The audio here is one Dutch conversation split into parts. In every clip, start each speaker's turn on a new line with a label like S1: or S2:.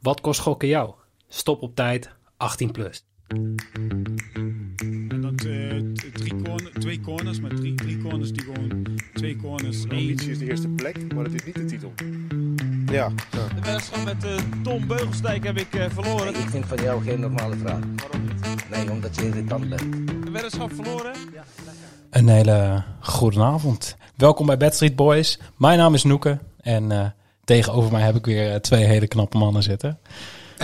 S1: Wat kost gokken jou? Stop op tijd, 18 plus.
S2: En dan eh, t- drie corner, twee corners, maar drie, drie corners die gewoon twee corners. één.
S3: Ambitie is de eerste plek, maar dat is niet de titel. Ja, ja.
S4: De wedstrijd met eh, Tom Beugelsdijk heb ik eh, verloren.
S5: Ik vind van jou geen normale vraag. Nee, omdat je irritant bent.
S4: De weddenschap verloren.
S6: Een hele goede avond. Welkom bij Bad Street Boys. Mijn naam is Noeke en eh, tegenover mij heb ik weer eh, twee hele knappe mannen zitten.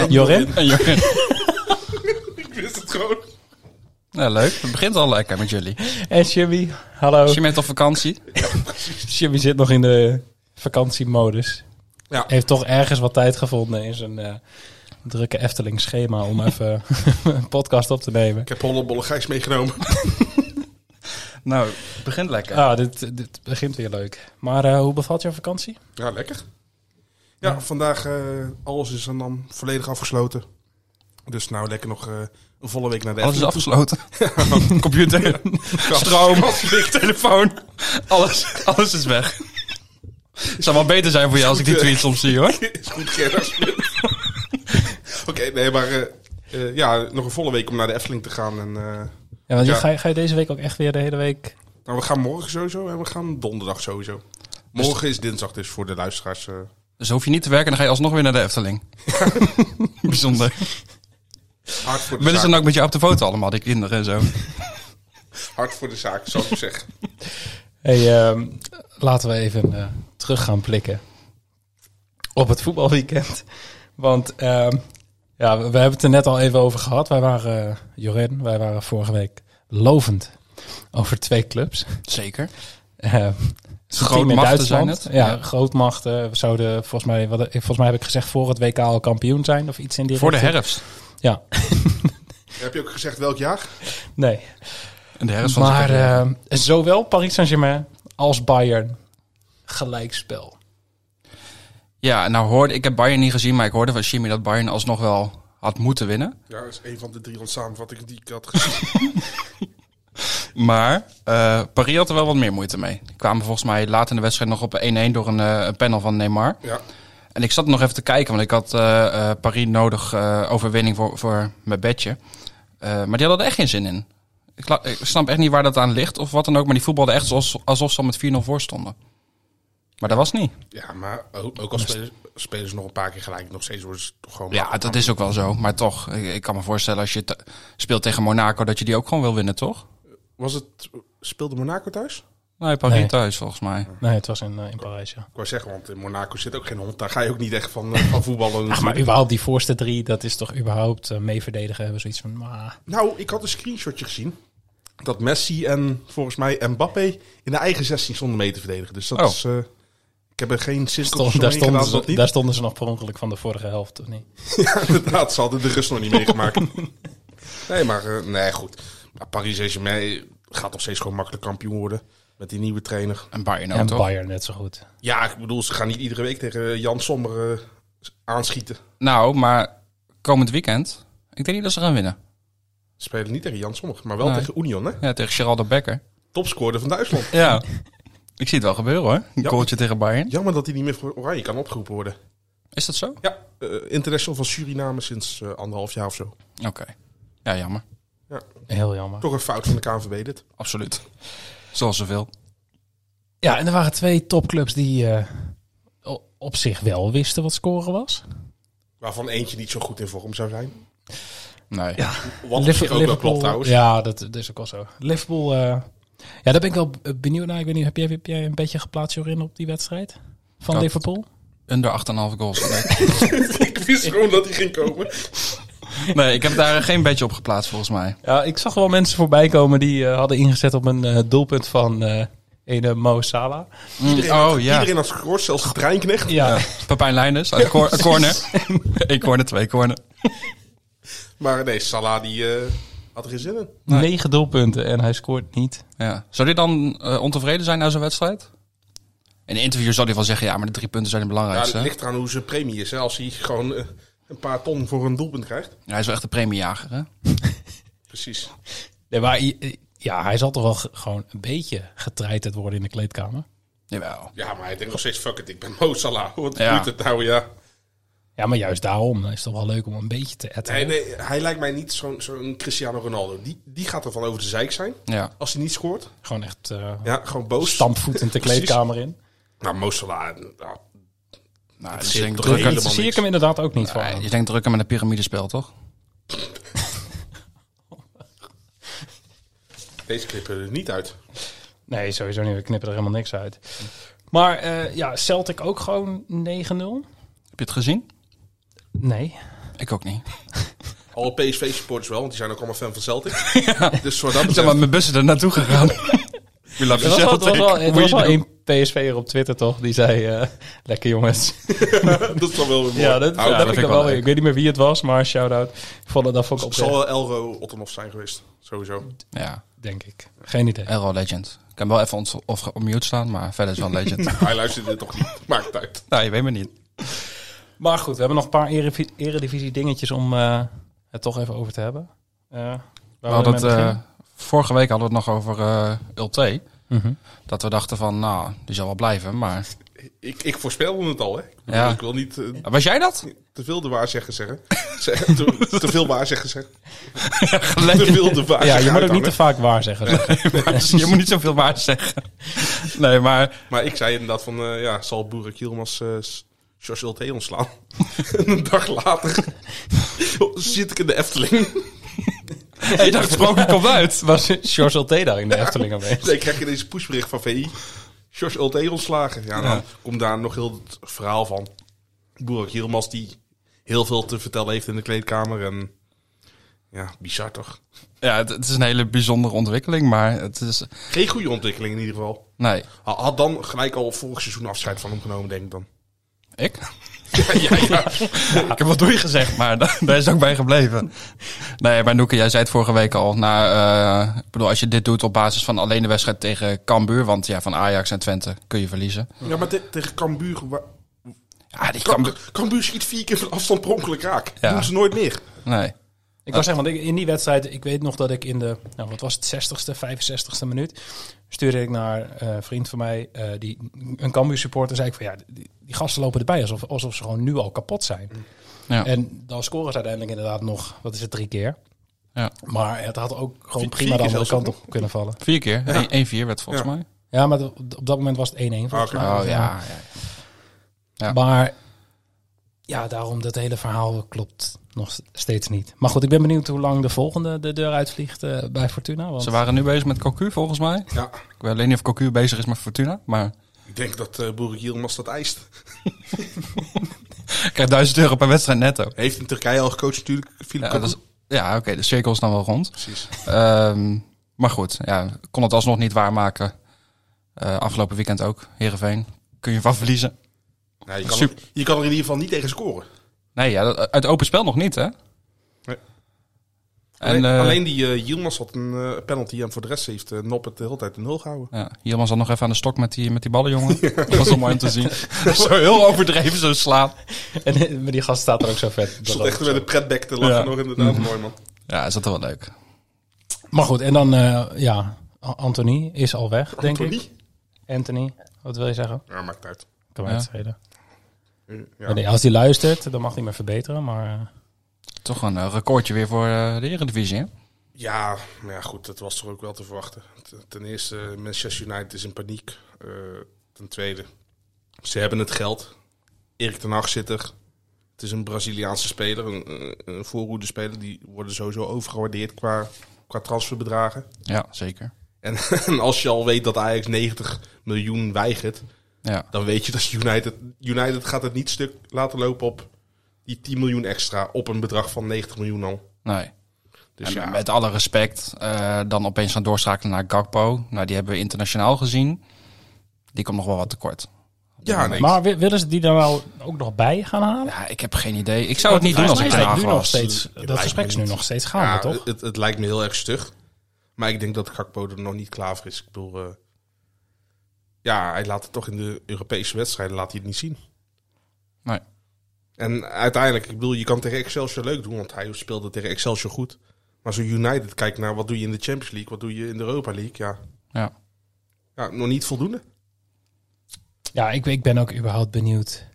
S6: Jorin.
S7: En Jorgen.
S3: Ik wist het gewoon.
S7: Nou, leuk. Het begint al lekker met jullie.
S6: en Jimmy. Hallo.
S7: Dus je bent op vakantie.
S6: Jimmy zit nog in de vakantiemodus.
S8: Ja.
S6: Heeft toch ergens wat tijd gevonden in zijn eh, drukke Efteling schema om even een podcast op te nemen.
S8: Ik heb hondenbolle gijs meegenomen.
S7: Nou, het begint lekker.
S6: Ah, dit, dit begint weer leuk. Maar eh, hoe bevalt jouw vakantie?
S8: Ja, lekker. Ja, vandaag eh, alles is dan, dan volledig afgesloten. Dus nou lekker nog eh, een volle week naar de
S7: Alles is
S8: Efteling.
S7: afgesloten. Computer, stroom, telefoon. Alles, alles is weg. Het zou wel beter zijn voor jou als ik die
S8: Goed, eh.
S7: tweets soms zie hoor.
S8: Is goed, Gerard. Oké, nee, maar eh, eh, ja, nog een volle week om naar de Efteling te gaan. En, eh,
S6: Ja, want je-
S8: Ja.
S6: Ga, je, ga je deze week ook echt weer de hele week...
S8: nou, we gaan morgen sowieso en we gaan donderdag sowieso. Morgen is dinsdag dus voor de luisteraars. eh.
S7: Dus hoef je niet te werken en dan ga je alsnog weer naar de Efteling. Bijzonder.
S8: hard, voor
S7: Willen
S8: de
S7: ze
S8: zaak,
S7: dan ook met je op de foto allemaal, die kinderen en zo? nou-
S8: hard voor de zaak, zou ik zeggen.
S6: Hey, ehm, laten we even eh, terug gaan blikken op het voetbalweekend. Want ehm, ja, we, we hebben het er net al even over gehad. Wij waren, eh, Jorin, wij waren vorige week lovend over twee clubs.
S7: Zeker.
S6: Eh,
S7: Grootmachten
S6: team in
S7: zijn
S6: Duitsland.
S7: het.
S6: Ja,
S7: Ja.
S6: grootmachten. We zouden volgens mij, wat, ik- volgens mij heb ik gezegd, voor het WK al kampioen zijn of iets in die
S7: Voor de
S6: richting.
S7: herfst.
S6: Ja,
S8: Heb je ook gezegd welk jaar?
S6: nee.
S7: En de herfst van de
S6: Maar
S7: carrière.
S6: ehm, zowel Paris Saint-Germain als Bayern gelijkspel.
S7: Ja, nou hoorde ik heb Bayern niet gezien, maar ik hoorde van Jimmy dat Bayern alsnog wel had moeten winnen.
S8: Ja, dat is een van de drie samenvattingen die ik had gezien.
S7: Maar eh Paris had er wel wat meer moeite mee. Die kwamen volgens mij laat in de wedstrijd nog op 1-1 door een, eh, een panel van Neymar.
S8: ja.
S7: En ik zat nog even te kijken, want ik had eh, eh, Paris nodig eh, overwinning voor, voor mijn bedje. Eh, maar die hadden er echt geen zin in. Ik, la- ik snap echt niet waar dat aan ligt of wat dan ook. Maar die voetbalden echt alsof, alsof ze al met 4-0 voor stonden. Maar dat was niet.
S8: Ja, maar ook, ook als spelers, spelers nog een paar keer gelijk, nog steeds worden ze toch gewoon...
S7: Ja, dat is ook wel zo. Maar toch, ik, ik kan me voorstellen als je te- speelt tegen Monaco dat je die ook gewoon wil winnen, toch?
S8: Was het, speelde Monaco thuis?
S7: Nee, Paris
S6: Nee.
S7: thuis volgens mij.
S6: Nee, het was in, eh, in Parijs, ja.
S8: Ik wou zeggen, want in Monaco zit ook geen hond. Daar ga je ook niet echt van, eh, van voetballen.
S6: Ach, maar überhaupt die voorste drie, dat is toch überhaupt eh, mee verdedigen? Hebben zoiets van, maar...
S8: Nou, ik had een screenshotje gezien. Dat Messi en volgens mij Mbappé in de eigen 16 stonden mee te verdedigen. Dus dat
S7: Oh.
S8: is... eh, ik heb er geen cirkel
S6: Stond, daar, stonden
S8: gedaan, dat
S6: ze,
S8: niet.
S6: daar stonden ze nog per ongeluk van de vorige helft, of niet?
S8: Ja, inderdaad, ze hadden de rust nog niet meegemaakt. nee, maar eh, nee, goed. Maar Paris Saint-Germain gaat nog steeds gewoon makkelijk kampioen worden. Met die nieuwe trainer.
S7: En Bayern ook,
S6: en
S7: toch?
S6: Bayern net zo goed.
S8: Ja, ik bedoel, ze gaan niet iedere week tegen eh, Jan Sommer eh, aanschieten.
S7: Nou, maar komend weekend, ik denk niet dat ze gaan winnen.
S8: Ze spelen niet tegen Jan Sommer, maar wel
S7: Nee.
S8: tegen Union, hè?
S7: Ja, tegen Geraldo Becker.
S8: Topscorer van Duitsland.
S7: Ja. ik zie het wel gebeuren hoor. Een
S8: Ja.
S7: goaltje tegen Bayern.
S8: Jammer dat hij niet meer voor Oranje kan opgeroepen worden.
S7: Is dat zo? Oké.
S8: Ja, eh, international van Suriname sinds eh, anderhalf jaar of zo.
S7: Ja, jammer.
S6: Heel jammer.
S8: Toch een fout van de KNVB dit.
S7: Absoluut. Zoals zoveel.
S6: Ja, en er waren twee topclubs die eh, o- op zich wel wisten wat scoren was.
S8: Waarvan eentje niet zo goed in vorm zou zijn.
S7: Nee.
S8: Wat op zich ook wel klopt trouwens.
S6: Ja, dat, dat is ook wel zo. Liverpool, eh, ja, daar ben ik wel b- benieuwd naar. Ik weet niet, heb jij, heb jij een beetje geplaatst, Jorin, op die wedstrijd? Van
S7: Dat-
S6: Liverpool?
S7: Under 8,5 goals. Nee.
S8: ik wist gewoon dat hij ging komen.
S7: nee, ik heb daar geen beetje op geplaatst volgens mij.
S6: Ja, ik zag wel mensen voorbij komen die eh, hadden ingezet op een eh, doelpunt van eh ene Mo Salah.
S8: Iedereen,
S7: oh
S8: had,
S7: ja.
S8: iedereen had gescoord, zelfs de treinknecht.
S6: Ja,
S7: Papijn Leijners uit de cor- corner. Eén corner, twee corner.
S8: Maar nee, Salah die, eh, had er geen zin in.
S6: negen doelpunten en hij scoort niet.
S7: Ja. Zou dit dan eh, ontevreden zijn na zo'n wedstrijd? In een interview zou hij wel zeggen, ja, maar de drie punten zijn het
S8: Ja, het
S7: belangrijkste.
S8: ligt eraan hoe zijn premie is. Hè. Als hij gewoon eh, een paar ton voor een doelpunt krijgt.
S7: hij is wel echt een premiejager, hè?
S8: Precies.
S6: Nee, maar i- ja, hij zal toch wel ge- gewoon een beetje getreiterd worden in de kleedkamer.
S7: Jawel.
S8: Ja, maar hij denkt nog steeds, fuck it, ik ben Mo Salah. Wat
S7: Ja.
S8: doet het nou, ja.
S6: Ja, maar juist daarom is het toch wel leuk om een beetje te etten.
S8: Nee, nee, hij lijkt mij niet zo'n zo'n Cristiano Ronaldo. Die, die gaat er van over de zeik zijn.
S7: Ja.
S8: Als hij niet scoort.
S6: Gewoon echt eh
S8: Ja, gewoon boos.
S6: stampvoetend de
S8: Precies.
S6: kleedkamer in.
S8: Nou, Mo Salah, nou,
S7: Nou,
S8: Het
S7: dus
S8: zit
S7: ik denk
S8: toch
S7: drukken,
S8: helemaal
S6: Dat zie
S8: niks.
S6: ik hem inderdaad ook niet van.
S7: Nee, je denkt drukken met een piramidespel, toch?
S8: deze knippen er niet uit.
S6: Nee, sowieso niet. We knippen er helemaal niks uit. Maar eh, ja, Celtic ook gewoon 9-0?
S7: Heb je het gezien?
S6: Nee.
S7: Ik ook niet.
S8: Alle PSV-supporters wel, want die zijn ook allemaal fan van Celtic. Dus voor dat
S7: Ik ben met
S8: betreft...
S7: mijn bussen er naartoe gegaan. We love
S6: Er was wel,
S7: Celtic.
S6: er was wel, er
S7: Moet
S6: was
S7: je
S6: wel
S7: doen.
S6: één PSV'er op Twitter toch, die zei... eh, lekker jongens.
S8: dat is dan wel weer mooi.
S6: Ja, dat,
S8: Nou,
S6: dat heb
S7: dat
S6: ik
S7: vind
S6: dan
S7: ik wel
S6: wel weer.
S7: leuk.
S6: Ik weet niet meer wie het was, maar shout-out. Ik vond het dat vond ik
S8: Het
S6: op
S8: zal wel Elro Ottenhoff zijn geweest, sowieso.
S7: Ja,
S6: denk ik. Geen idee.
S7: Elro Legend. Ik kan wel even ons of op mute staan, maar verder is wel Legend.
S8: Hij luistert dit toch niet. Maakt het uit.
S7: nou, je weet me niet.
S6: Maar goed, we hebben nog een paar erevi- eredivisie dingetjes om eh, het toch even over te hebben. Eh, waar wil
S7: We
S6: je
S7: hadden
S6: mee
S7: het, eh,
S6: beginnen?
S7: vorige week hadden we het nog over eh Ulte.
S6: Mhm.
S7: Dat we dachten van, nou, die zal wel blijven. Maar
S8: Ik, ik voorspelde het al, hè. Ik, bedoel,
S7: Ja.
S8: ik wil niet eh,
S7: was jij dat?
S8: te veel de waarzeggen zeggen. Zeg- te, te veel waarzeggen zeggen. Te
S7: Gelijk.
S8: veel de waarzeggen
S6: Ja, je moet ook niet te
S8: uithangen.
S6: vaak waar zeggen.
S7: dus je moet niet zoveel waar zeggen. Nee, maar
S8: Maar ik zei inderdaad van, eh, ja, zal Boerak Yilmaz eh George Ulte ontslaan? en een dag later zit ik in de Efteling.
S7: hey, dat gesproken komt uit.
S6: Was George Alté daar in de Efteling aanwezig?
S8: nee, ik krijg je deze pushbericht van VI. George Ulte ontslagen. Ja, dan komt daar nog heel het verhaal van. Boerak Yilmaz die heel veel te vertellen heeft in de kleedkamer. En ja, bizar toch?
S7: Ja, het, het is een hele bijzondere ontwikkeling, maar het is...
S8: Geen goede ontwikkeling in ieder geval.
S7: Nee,
S8: Ha- Had dan gelijk al vorig seizoen afscheid van hem genomen, denk ik dan.
S7: ik? Ik heb wat doei gezegd, maar da- daar is ook bij gebleven. Nee, maar Noeke, jij zei het vorige week al. Nou, eh, ik bedoel, als je dit doet op basis van alleen de wedstrijd tegen Cambuur... want ja, van Ajax en Twente kun je verliezen.
S8: Ja, maar te- tegen Cambuur... wa-
S7: Ja, die
S8: Cam-
S7: Cambuur...
S8: Cambuur schiet vier keer van afstand per ongeluk raak.
S7: Ja.
S8: Doen ze nooit meer.
S7: Nee.
S6: Ik was zeggen, want ik- in die wedstrijd, ik weet nog dat ik in de, nou wat was het, 60ste, 65ste minuut, stuurde ik naar eh, een vriend van mij, eh, die een Cambuur supporter, zei ik van ja, die, die gasten lopen erbij alsof, alsof ze gewoon nu al kapot zijn.
S7: Ja.
S6: En dan scoren ze uiteindelijk inderdaad nog, wat is het, drie keer.
S7: Ja.
S6: Maar het had ook gewoon prima
S8: Vier-
S6: de
S8: vier
S6: andere
S8: keer zelfs,
S6: kant op kunnen vallen.
S7: Vier keer. Eén 1-4 werd volgens
S8: Ja.
S7: mij.
S6: Ja, maar d- op dat moment was het 1-1 volgens
S8: Oké.
S6: mij.
S7: Oh
S6: Of,
S7: ja, ja. Ja.
S6: Maar ja, daarom dat hele verhaal klopt nog steeds niet. Maar goed, ik ben benieuwd hoe lang de volgende de deur uitvliegt eh, bij Fortuna. Want
S7: Ze waren nu bezig met Cocu volgens mij.
S8: Ja.
S7: Ik weet alleen niet of Cocu bezig is met Fortuna, maar...
S8: Ik denk dat eh Boerik Yilmaz dat eist.
S7: Ik krijg 1000 euro per wedstrijd netto.
S8: Heeft in Turkije al gecoacht natuurlijk. Philip
S7: Ja,
S8: Koku.
S7: dat is- ja oké, de cirkel is dan wel rond.
S8: Precies.
S7: Ehm, maar goed, ja, kon het alsnog niet waarmaken. Eh, afgelopen weekend ook, Heerenveen. Kun je van verliezen?
S8: Nou, je, kan
S7: Super.
S8: er, je kan er in ieder geval niet tegen scoren.
S7: Nee, ja, dat- uit open spel nog niet, hè?
S8: Nee.
S7: En,
S8: alleen,
S7: eh,
S8: alleen die eh Yilmaz had een eh, penalty en voor de rest heeft eh, Noppert de hele tijd de nul gehouden.
S7: Ja, Hierman zat nog even aan de stok met die, met die ballen, jongen. Dat was wel mooi om te zien. zo heel overdreven, zo slaan.
S6: En maar die gast staat er ook zo vet.
S8: Stond echt met een pretback te lachen
S7: Ja. Mhm.
S8: nog inderdaad. Mooi man.
S7: Ja, is dat wel leuk.
S6: Maar goed, en dan, eh, ja, A- Anthony is al weg, denk
S8: Anthony?
S6: ik. Anthony, wat wil je zeggen?
S8: Ja, maakt uit.
S6: Kan
S7: Ja.
S6: mij het schelen.
S8: Eh,
S6: Maar
S8: Ja.
S6: nee, als hij luistert, dan mag hij me verbeteren. Maar eh,
S7: Toch een eh, recordje weer voor eh, de Eredivisie, hè?
S8: Ja, maar ja, goed, dat was toch ook wel te verwachten. Ten- Ten eerste, Manchester United is in paniek. Eh, ten tweede, ze hebben het geld. Erik ten Hag zit er. Het is een Braziliaanse speler, een, een- een voorhoede speler. Die worden sowieso overgewaardeerd qua, qua transferbedragen.
S7: Ja, zeker.
S8: En, en als je al weet dat Ajax 90 miljoen weigert,
S7: Ja,
S8: dan weet je dat United, United gaat het niet stuk laten lopen op die 10 miljoen extra. Op een bedrag van 90 miljoen al.
S7: nee.
S8: Dus
S7: en
S8: ja,
S7: met alle respect, eh, dan opeens gaan doorschakelen naar Gakpo. Nou, die hebben we internationaal gezien. Die komt nog wel wat tekort.
S8: ja, nee.
S6: maar wi- willen ze die dan wel ook nog bij gaan halen?
S7: Ja, ik heb geen idee. Ik zou het niet doen als ik eh,
S6: Volgens mij is
S7: traag
S6: het nu nog
S7: was.
S6: steeds, dat
S8: lijkt
S6: gesprek
S8: me
S6: is nu
S8: niet.
S6: nog steeds gaande,
S8: Ja,
S6: toch?
S8: Het, het lijkt me heel erg stug. Maar ik denk dat Gakpo er nog niet klaar voor is. Ik bedoel, eh, ja, hij laat het toch in de Europese wedstrijden laat hij het niet zien.
S7: Nee.
S8: En uiteindelijk, ik bedoel, je kan tegen Excelsior leuk doen, want hij speelde tegen Excelsior goed. Maar zo United kijkt naar wat doe je in de Champions League, wat doe je in de Europa League, ja.
S7: Ja.
S8: Ja, nog niet voldoende.
S6: Ja, ik, ik ben ook überhaupt benieuwd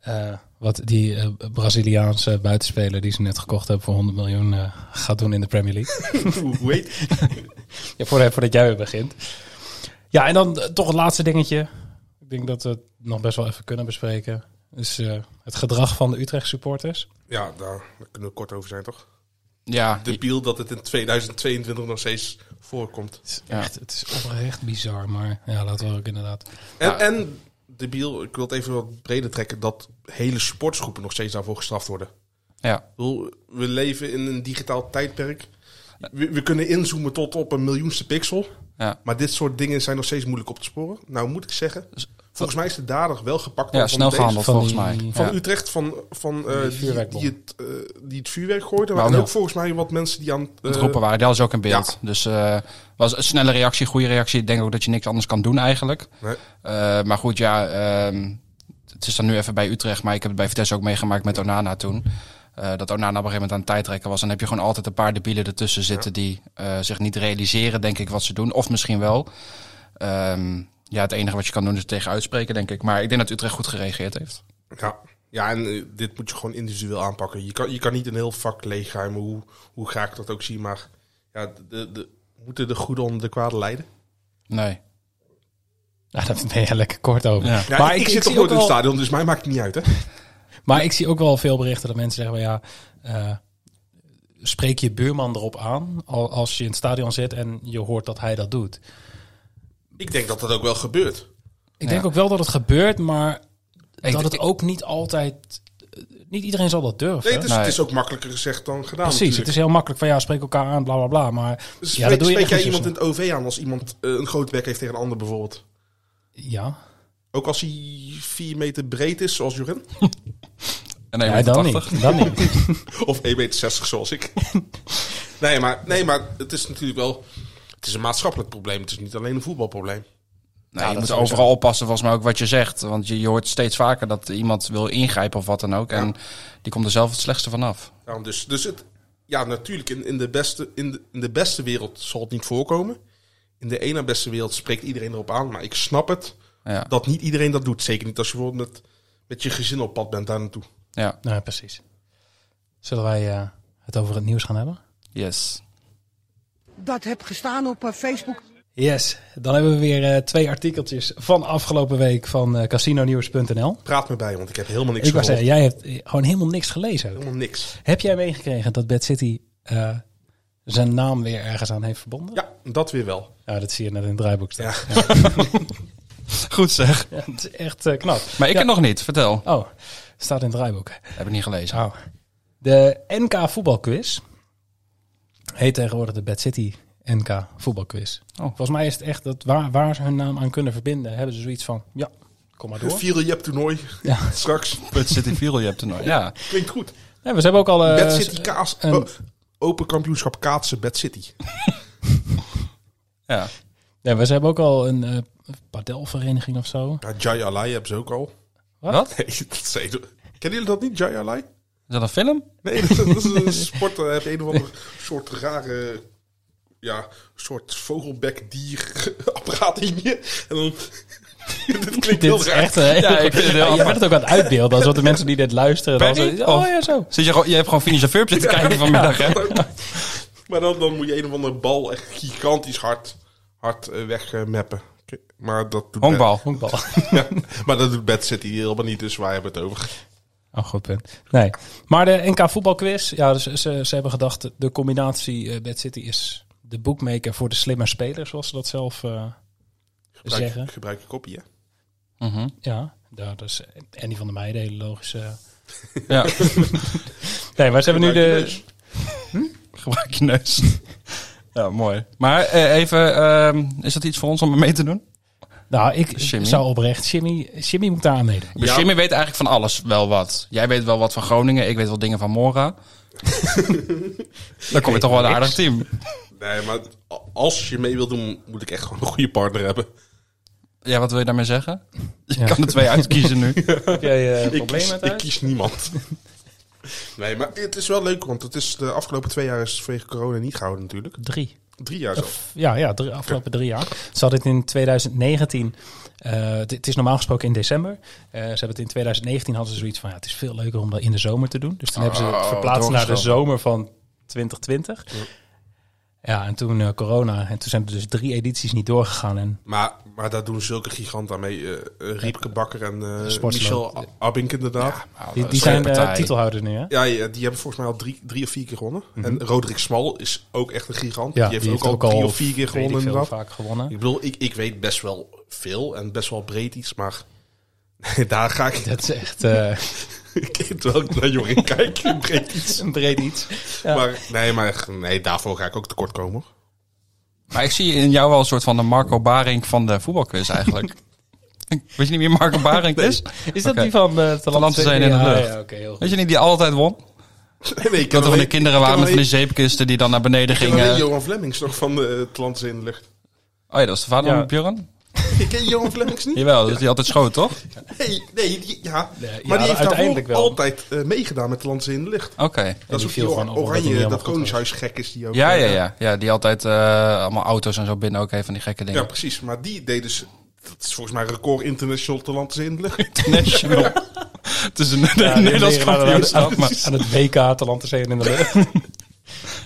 S6: eh, Wat die eh, Braziliaanse buitenspeler die ze net gekocht hebben voor 100 miljoen eh, gaat doen in de Premier League.
S8: Hoe heet?
S6: ja, voor, voordat jij weer begint. Ja, en dan eh, toch het laatste dingetje. Ik denk dat we het nog best wel even kunnen bespreken. Is eh, het gedrag van de Utrecht supporters.
S8: Ja, daar, daar kunnen we kort over zijn, toch?
S7: Ja,
S8: De piel dat het in 2022 nog steeds voorkomt.
S7: Ja.
S6: Echt, het is oprecht bizar, maar ja, laten we ook inderdaad.
S8: En,
S7: Ja.
S8: en de biel, ik wil het even wat breder trekken, dat hele sportsgroepen nog steeds daarvoor gestraft worden.
S7: ja.
S8: Ik bedoel, We leven in een digitaal tijdperk. We, we kunnen inzoomen tot op een miljoenste pixel.
S7: Ja.
S8: Maar dit soort dingen zijn nog steeds moeilijk op te sporen. Nou moet ik zeggen, volgens mij is de dader wel gepakt.
S7: Dus, ja
S8: van
S7: snel
S8: deze-
S7: gehandeld
S6: van
S7: volgens
S6: die-
S7: mij.
S8: Van
S7: Ja.
S8: Utrecht, van, van eh,
S6: Die
S8: die, die,
S6: vuurwerkbom.
S8: het, eh, die het vuurwerk gooiden.
S7: Maar
S8: Maar en
S7: ook-
S8: ook volgens mij wat mensen die aan eh,
S7: Het roepen waren, dat was ook in beeld. Dus eh, was een snelle reactie, goede reactie. Ik denk ook dat je niks anders kan doen eigenlijk.
S8: Nee.
S7: Eh, maar goed, ja, ehm, het is dan nu even bij Utrecht. Maar ik heb het bij Vitesse ook meegemaakt met Onana toen. Eh, dat Onana op een gegeven moment aan het tijdrekken was. Dan heb je gewoon altijd een paar debielen ertussen zitten die eh, zich niet realiseren, denk ik, wat ze doen. Of misschien wel. Ehm, ja, het enige wat je kan doen is tegen uitspreken, denk ik. Maar ik denk dat Utrecht goed gereageerd heeft.
S8: Ja, ja en eh, dit moet je gewoon individueel aanpakken. Je kan, je kan niet een heel vak leeggrijmen, hoe, hoe graag ik dat ook zie. Maar ja, de, de, moeten de goede onder de kwade leiden?
S7: Nee.
S6: Ja, daar ben je lekker kort over.
S7: Ja.
S8: Ja,
S6: Maar
S8: Nou, ik,
S6: ik- ik
S8: zit toch
S6: zie
S8: nooit in
S6: ook
S8: het
S6: wel-
S8: stadion, dus mij maakt het niet uit. Hè?
S6: Maar ik zie ook wel veel berichten dat mensen zeggen: van, ja, eh, spreek je buurman erop aan al- als je in het stadion zit en je hoort dat hij dat doet.
S8: Ik denk dat dat ook wel gebeurt.
S6: Ik denk ook wel dat het gebeurt, maar
S7: Ik-
S6: dat het
S7: ik-
S6: ook niet altijd. eh, Niet iedereen zal dat durven.
S8: Nee, het, is,
S7: Nee.
S8: het is ook makkelijker gezegd dan gedaan.
S6: Precies, het is heel makkelijk van ja, spreek elkaar aan, bla bla bla. Maar
S8: Dus
S6: ja,
S8: spreek,
S6: dat doe je
S8: spreek
S6: echt
S8: jij
S6: niet zo
S8: iemand in het OV aan als iemand eh, een groot bek heeft tegen een ander bijvoorbeeld?
S6: ja,
S8: Ook als hij vier meter breed is, zoals Jorin?
S7: En
S6: ja dan niet. Dan niet.
S8: Of 1,60 meter zoals ik. nee, maar, nee, maar het is natuurlijk wel... Het is een maatschappelijk probleem. Het is niet alleen een voetbalprobleem.
S7: Nee, je moet overal oppassen, volgens mij ook wat je zegt. Want je, je hoort steeds vaker dat iemand wil ingrijpen of wat dan ook. En die komt er zelf het slechtste vanaf.
S8: Daarom dus, dus het, ja, natuurlijk, in, in, de beste, in, de, in de beste wereld zal het niet voorkomen. In de ene beste wereld spreekt iedereen erop aan. Maar ik snap het,
S7: Ja,
S8: dat niet iedereen dat doet. Zeker niet als je bijvoorbeeld met, met je gezin op pad bent daar naartoe.
S7: ja.
S6: Nou, precies. Zullen wij eh, het over het nieuws gaan hebben?
S7: yes.
S9: dat heb gestaan op eh, Facebook.
S6: Yes, dan hebben we weer eh, twee artikeltjes van afgelopen week van eh casinonieuws.nl.
S8: Praat me bij, want ik heb helemaal niks
S6: Ik wou
S8: gehoord.
S6: zeggen, jij hebt eh, gewoon helemaal niks gelezen. ook.
S8: Helemaal niks.
S6: Heb jij meegekregen dat Bad City eh, zijn naam weer ergens aan heeft verbonden?
S8: Ja, dat weer wel.
S6: Ja, dat zie je net in het draaiboek staan.
S8: Ja.
S7: Goed zeg.
S6: Ja, het is echt eh, knap.
S7: Maar ik
S6: Ja.
S7: heb nog niet, vertel.
S6: Oh, staat in het draaiboek.
S7: Heb ik niet gelezen.
S6: Oh. De NK voetbalquiz heet tegenwoordig de Bad City NK voetbalquiz.
S7: Oh.
S6: Volgens mij is het echt dat waar, waar ze hun naam aan kunnen verbinden, hebben ze zoiets van, ja, kom maar
S8: Het
S6: door.
S8: vierde Jep toernooi
S6: Ja.
S8: straks.
S7: Put City Vierel, je hebt er nooit. Ja.
S8: Klinkt goed.
S6: Ja, we hebben ook al... eh,
S8: Bad City kaas.
S6: een-
S8: oh, open kampioenschap kaatsen Bad City.
S7: ja.
S6: Ja, we hebben ook al een eh padelvereniging of zo.
S8: Ja, Jai Alai hebben ze ook al.
S7: Wat?
S8: Nee, dat zei Kennen jullie dat niet, Jai Alai?
S7: Is dat een film?
S8: Nee, dat, dat is een sport. Daar heb je een of ander soort rare... Ja, soort vogelbekdier-apparaat in je. En dan... Dit klinkt
S6: Dit
S8: heel
S6: is
S8: raar.
S6: echt... eh,
S7: Ja, ik vind het heel
S6: je bent het ook aan het uitbeelden, alsof de mensen die dit luisteren... dan
S7: Penny?
S6: zo- oh ja, zo.
S7: Zit je, gewoon- je hebt gewoon Finish the Verb zitten kijken vanmiddag, hè?
S8: Maar dan, dan moet je een of andere bal echt gigantisch hard, hard eh, wegmappen. Maar dat doet
S7: Honkbal.
S6: Honkbal.
S8: Ja, maar dat doet Bad City helemaal niet, dus waar hebben we het over?
S6: Oh, goed punt. Nee. Maar de NK voetbalquiz, ja, dus ze, ze hebben gedacht, de combinatie eh, Bad City is de boekmaker voor de slimme speler, zoals ze dat zelf eh, zeggen.
S8: Gebruik, gebruik je kopie, hè?
S7: Mhm.
S6: Ja, daar dus Andy van der Meijden, hele logische.
S7: Ja.
S6: Nee, maar ze hebben nu
S8: Gebruik je
S6: de.
S7: Gebruik je neus. Ja, mooi. Maar eh, even, ehm, is dat iets voor ons om mee te doen?
S6: Nou, ik
S7: Jimmy.
S6: zou oprecht, Jimmy, Jimmy moet daar aan meedoen.
S7: Dus
S8: Ja.
S7: Jimmy weet eigenlijk van alles wel wat. Jij weet wel wat van Groningen, ik weet wel dingen van Mora. Dan kom je toch wel een aardig team.
S8: Nee, maar als je mee wil doen, moet ik echt gewoon een goede partner hebben.
S7: Ja, wat wil je daarmee zeggen? Je
S6: Ja.
S7: kan er twee uitkiezen nu.
S6: Heb jij
S8: Ik kies, ik kies niemand. nee, maar het is wel leuk, want het is de afgelopen twee jaar is het vanwege corona niet gehouden natuurlijk.
S6: Drie.
S8: Drie jaar zelfs.
S6: Of, ja, ja de afgelopen drie jaar. Ze hadden het in 2019. eh, het- het is normaal gesproken in december. Eh, ze hebben het in 2019 hadden ze zoiets van ja, het is veel leuker om dat in de zomer te doen. Dus toen hebben ze het
S7: Oh,
S6: verplaatst naar de
S7: doorgeschoven.
S6: zomer van 2020. Ja, en toen eh, corona. En toen zijn er dus drie edities niet doorgegaan. En
S8: Maar, maar daar doen zulke giganten aan mee. eh, eh, Riepke Bakker en eh,
S6: Sportsloo.
S8: Michel A- Abink inderdaad. Ja.
S6: die, die
S7: Zo'n
S6: zijn eh,
S7: partij.
S6: titelhouders nu, hè?
S8: Ja, die hebben volgens mij al drie, drie of vier keer gewonnen. En Roderick Smal is ook echt een gigant. Mhm. die heeft ook, al drie of vier keer
S6: weet ik
S8: gewonnen
S6: veel,
S8: inderdaad.
S6: vaak gewonnen.
S8: Ik bedoel, ik, ik weet best wel veel en best wel breed iets, maar daar ga ik
S6: Dat is echt eh,
S8: terwijl ik naar Jorin kijk, breed iets.
S6: een breed iets. Ja.
S8: Maar nee, maar echt, nee, daarvoor ga ik ook tekort komen. hoor.
S7: Maar ik zie in jou wel een soort van de Marco Baring van de voetbalquiz eigenlijk. Weet je niet meer Marco Baring is?
S6: Is dat
S7: Oké.
S6: die van eh Talante
S7: zijn in de
S6: Ja,
S7: lucht.
S6: Ja, oké, heel goed.
S7: Weet je niet die altijd won?
S8: Nee, nee, ik
S7: Dat er van
S8: alleen-
S7: de kinderen waren
S8: ik
S7: met
S8: ken
S7: van die
S8: alleen-
S7: zeepkisten die dan naar beneden
S8: ik ken alleen
S7: gingen.
S8: Johan Flemmings nog van de Atlantis in de lucht.
S7: Oh ja, dat is de vader
S6: Ja.
S7: van Björn.
S8: Ik ken Johan Flemmings niet.
S7: Jawel, dat is die altijd schoot, toch?
S8: Nee, nee, die- ja.
S6: ja,
S8: maar die heeft
S6: uiteindelijk wel.
S8: daarvoor altijd eh, meegedaan met Atlantis in de lucht.
S7: Oké.
S8: Dat is
S6: die
S8: ook die
S6: viel gewoon op
S8: or-
S6: omdat hij niet
S8: oranje, dat,
S6: helemaal goed
S8: koningshuis gek is die ook.
S7: Ja,
S8: eh,
S7: ja, ja, ja. Die altijd eh, allemaal auto's en zo binnen ook heeft van die gekke
S8: Ja,
S7: dingen.
S8: precies. Maar die deed dus... Dat is volgens mij record international Atlantis in de lucht.
S7: National. Het is een
S6: Ja, die
S7: Nederlands
S6: liggen aan, de-
S7: kampioenschap,
S6: aan,
S7: maar
S6: aan het WK Talante Zeeën in de lucht.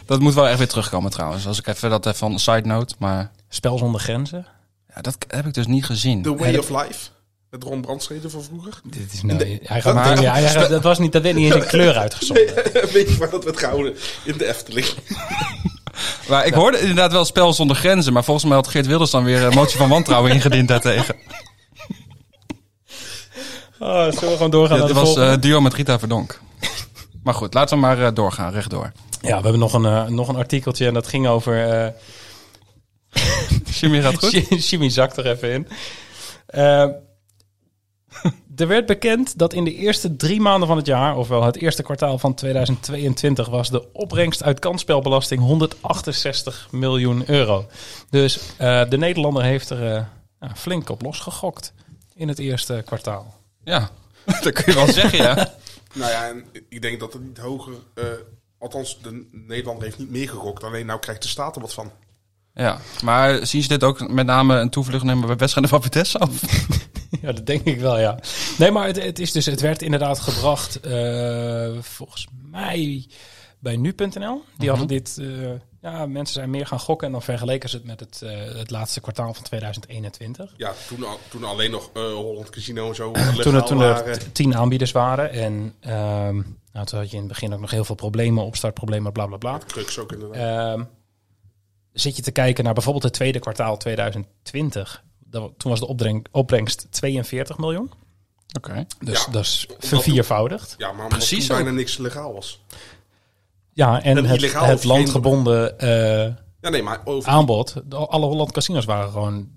S7: dat moet wel echt weer terugkomen trouwens. Als ik even dat even van een side note, maar
S6: Spel zonder grenzen.
S7: ja, dat heb ik dus niet gezien.
S8: The Way of Life. Met Ron Brandstede van vroeger.
S6: Dit is nou, hij gaat
S8: dat-
S6: meteen- ja, hij
S8: dat-
S6: gaat- dat, was niet, dat werd niet eens in kleur uitgezonden.
S8: Weet je waar dat werd gehouden? In de Efteling.
S7: Maar ik hoorde inderdaad wel spel zonder grenzen, maar volgens mij had Geert Wilders dan weer een motie van wantrouwen ingediend daartegen.
S6: Oh, zullen we gewoon doorgaan
S7: Ja,
S6: naar
S7: dit
S6: de
S7: was
S6: volgende?
S7: eh, duo met Rita Verdonk. Maar goed, laten we maar eh, doorgaan, rechtdoor.
S6: Ja, we hebben nog een, eh, nog een artikeltje en dat ging over... eh,
S7: Jimmy gaat goed.
S6: Jimmy- Jimmy zakt er even in. Eh, er werd bekend dat in de eerste drie maanden van het jaar, ofwel het eerste kwartaal van 2022, was de opbrengst uit kansspelbelasting 168 miljoen euro. Dus eh, de Nederlander heeft er eh, nou, flink op losgegokt in het eerste kwartaal.
S7: Ja, dat kun je wel zeggen, ja.
S8: Nou ja, en ik denk dat het niet hoger... eh, althans, de Nederlander heeft niet meer gegokt. Alleen nou krijgt de staat er wat van.
S7: Ja, maar zien ze dit ook met name een toevlucht nemen bij wedstrijden van Vitesse? Of-
S6: Ja, dat denk ik wel, ja. Nee, maar het, het, is dus, het werd inderdaad gebracht, eh, volgens mij, bij nu.nl. Die hadden dit... eh, ja, mensen zijn meer gaan gokken en dan vergeleken ze het met het, eh, het laatste kwartaal van 2021.
S8: Ja, toen, al- toen alleen nog eh, Holland Casino en zo.
S6: Toen
S8: legaal
S6: er, toen er
S8: waren.
S6: t- tien aanbieders waren en ehm, nou, toen had je in het begin ook nog heel veel problemen, opstartproblemen, bla bla bla.
S8: Crux ook inderdaad.
S6: Ehm, zit je te kijken naar bijvoorbeeld het tweede kwartaal 2020. Dan- toen was de opbreng- opbrengst 42 miljoen.
S7: Oké.
S6: Dus
S8: Ja.
S6: dat is verviervoudigd.
S8: ja, maar omdat
S7: precies
S8: toen bijna niks legaal was.
S6: Ja, en
S8: En
S6: het,
S8: illegaal
S6: het
S8: of geen-
S6: landgebonden eh,
S8: Ja, nee, maar over...
S6: aanbod. de- Alle Holland casinos waren gewoon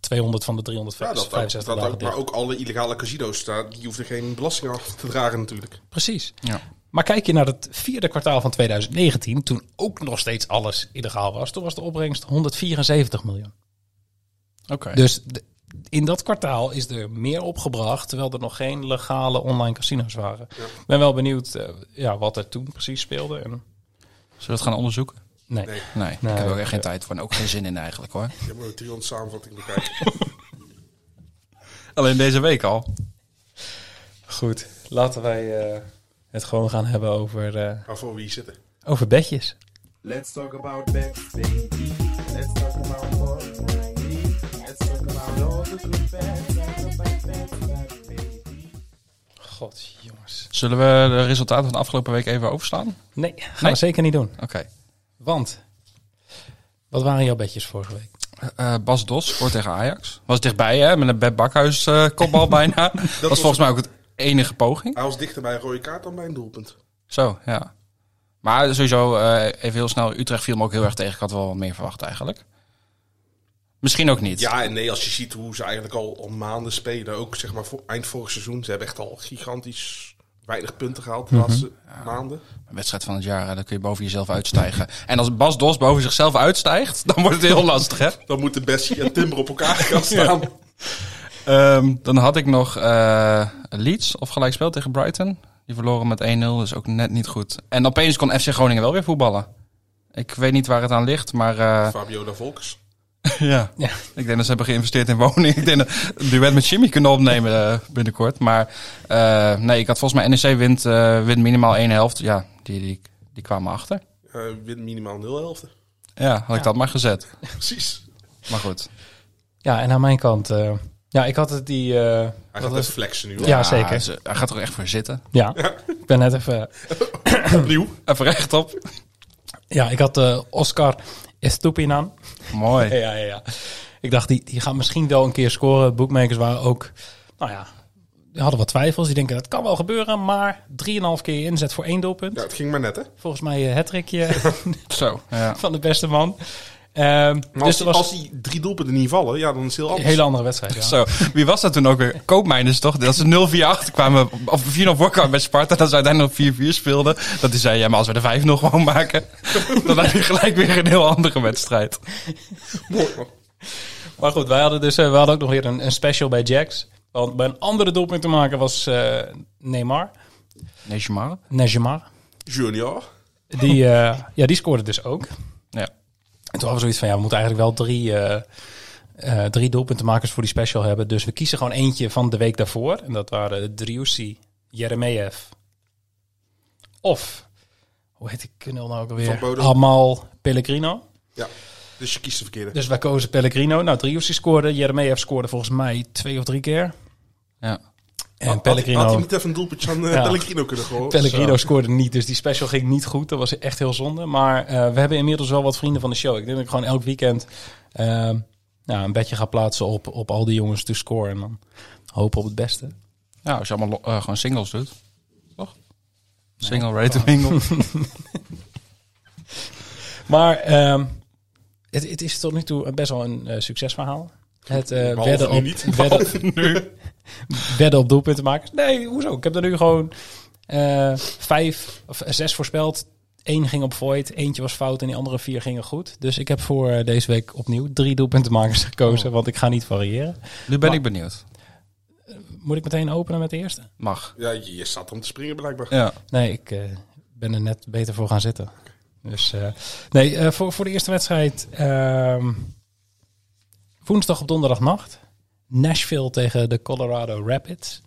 S6: 200 van de
S8: Ja, dat ook,
S6: 365
S8: dat
S6: dagen
S8: ook,
S6: dicht.
S8: maar ook alle illegale casino's, daar, die hoefden geen belasting af te dragen natuurlijk.
S6: Precies.
S7: Ja.
S6: Maar kijk je naar het vierde kwartaal van 2019, toen ook nog steeds alles illegaal was, toen was de opbrengst 174 miljoen.
S7: Oké.
S6: Dus de- in dat kwartaal is er meer opgebracht, terwijl er nog geen legale online casinos waren. Ik ben wel benieuwd eh, ja, wat er toen precies speelde. En,
S7: Zullen we het gaan onderzoeken?
S6: nee.
S8: Nee.
S7: Nee,
S6: Nee.
S7: ik heb er ook echt geen tijd voor en ook geen zin in eigenlijk hoor.
S8: Je moet 300 samenvatting bekijken.
S7: Alleen deze week al.
S6: Goed, laten wij eh, het gewoon gaan hebben over, eh,
S8: Maar voor wie zitten?
S6: over bedjes.
S10: Let's talk about bets, baby. Let's talk about money. Let's talk about all the good bets. Let's talk about bets, baby.
S6: God, jongens.
S7: Zullen we de resultaten van de afgelopen week even overslaan?
S6: Nee, gaan
S7: Nee?
S6: we zeker niet doen.
S7: Oké.
S6: Want, wat waren jouw bedjes vorige week?
S7: Eh, Bas Dos scoort tegen Ajax. Was dichtbij hè, met een Beb Bakhuis eh, kopbal bijna. Dat was
S8: was-
S7: volgens mij ook het enige poging.
S8: Hij was dichter bij een rode kaart dan bij een doelpunt.
S7: Zo, ja. Maar sowieso, eh, even heel snel, Utrecht viel me ook heel erg tegen. Ik had wel wat meer verwacht eigenlijk. Misschien ook niet.
S8: Ja en nee, als je ziet hoe ze eigenlijk al, al maanden spelen, ook zeg maar voor, eind vorig seizoen, ze hebben echt al gigantisch weinig punten gehaald
S6: Mhm.
S8: de laatste maanden.
S7: Een wedstrijd van het jaar, hè, dan kun je boven jezelf uitstijgen. En als Bas Dos boven zichzelf uitstijgt, dan wordt het heel lastig hè.
S8: Dan moeten Bessie en Timber op elkaar gaan staan.
S7: Ehm, dan had ik nog eh, Leeds of gelijkspel tegen Brighton. Die verloren met 1-0, dus ook net niet goed. En opeens kon FC Groningen wel weer voetballen. Ik weet niet waar het aan ligt, maar eh,
S8: Fabio da Volkers.
S7: ja.
S6: Ja.
S7: ik denk dat ze hebben geïnvesteerd in woning. Ik denk dat we een duet met Jimmy kunnen opnemen eh, binnenkort. Maar eh, nee, ik had volgens mij NEC wint, eh, wint minimaal één helft. Ja, die, die, die kwamen achter.
S8: Eh wint minimaal nul helften.
S7: Ja, had ik dat maar gezet.
S8: Precies.
S7: Maar goed.
S6: Ja, en aan mijn kant... eh, ja, ik had het die... eh,
S8: Hij
S6: wat
S8: gaat
S6: was-
S8: even flexen nu.
S6: Ja,
S8: hoor.
S6: zeker.
S7: Ah, ze- hij gaat er echt voor zitten.
S6: Ja, ik ben net even...
S8: Opnieuw.
S7: Even rechtop.
S6: Ja, ik had eh, Oscar Estupinan.
S7: Mooi.
S6: Ja, ja, ja. Ik dacht, die, die gaat misschien wel een keer scoren. Bookmakers waren ook, nou ja, die hadden wat twijfels. Die denken, dat kan wel gebeuren, maar 3,5 keer inzet voor één doelpunt.
S8: Ja, het ging maar net, hè?
S6: Volgens mij eh, het hattrickje
S7: Zo, ja.
S6: van de beste man. Ehm, dus
S8: Maar als,
S6: er
S8: die-
S6: was
S8: als die drie doelpunten niet vallen, ja, dan is het heel
S6: een
S8: anders.
S6: hele andere wedstrijd. Ja.
S7: Zo, wie was dat toen ook weer? Koopmijners toch? Dat ze 0-4 achterkwamen, of 4-0 voorkwamen bij Sparta. Dat ze uiteindelijk 4-4 speelden. Dat die zei, ja, maar als we de 5 nog gewoon maken, dan had je gelijk weer een heel andere wedstrijd.
S6: Maar goed, wij hadden dus eh, we hadden ook nog weer een, een special bij Jax. Want bij een andere doelpunt te maken was eh, Neymar.
S7: Nee, maar.
S6: Neymar.
S8: Junior.
S6: Die, eh, ja, die scoorde dus ook.
S7: Ja.
S6: En toen hadden we zoiets van, ja, we moeten eigenlijk wel drie, eh, eh, drie doelpuntenmakers voor die special hebben. Dus we kiezen gewoon eentje van de week daarvoor. En dat waren Driussi, Jeremejev of, hoe heet die knul nou ook
S8: Van
S6: alweer?
S8: Bodo.
S6: Amal Pellegrino.
S8: Ja. Dus je kiest de verkeerde.
S6: Dus wij kozen Pellegrino. Nou, Driussi scoorde, Jeremejev scoorde volgens mij twee of drie keer.
S7: Ja.
S8: Had-
S6: En
S8: had, Had hij
S6: Pellegrino,
S8: niet even een doelpuntje aan eh,
S6: Ja.
S8: Pellegrino kunnen gooien?
S6: Pellegrino scoorde niet, dus die special ging niet goed. Dat was echt heel zonde. Maar eh, we hebben inmiddels wel wat vrienden van de show. Ik denk dat ik gewoon elk weekend ehm, nou, een bedje ga plaatsen op, op al die jongens te scoren. En dan hopen op het beste.
S7: Ja, als je allemaal lo- eh, gewoon singles doet. Toch? Single, ready to mingle.
S6: Maar ehm, het, het is tot nu toe best wel een eh, succesverhaal. Het eh,
S8: Behalve
S6: wedden,
S8: nu
S6: op,
S8: niet.
S6: wedden, wedden op doelpunten maken. Nee, hoezo? Ik heb er nu gewoon eh, vijf of zes voorspeld. Eén ging op void, eentje was fout en die andere vier gingen goed. Dus ik heb voor eh, deze week opnieuw drie doelpuntenmakers gekozen, want ik ga niet variëren.
S7: Nu ben ik benieuwd.
S6: Moet ik meteen openen met de eerste?
S7: Mag.
S8: Ja, je, je staat om te springen blijkbaar.
S7: Ja.
S6: Nee, ik eh, ben er net beter voor gaan zitten. Dus eh, nee, eh, voor, voor de eerste wedstrijd. ehm, woensdag op donderdagnacht. Nashville tegen de Colorado Rapids.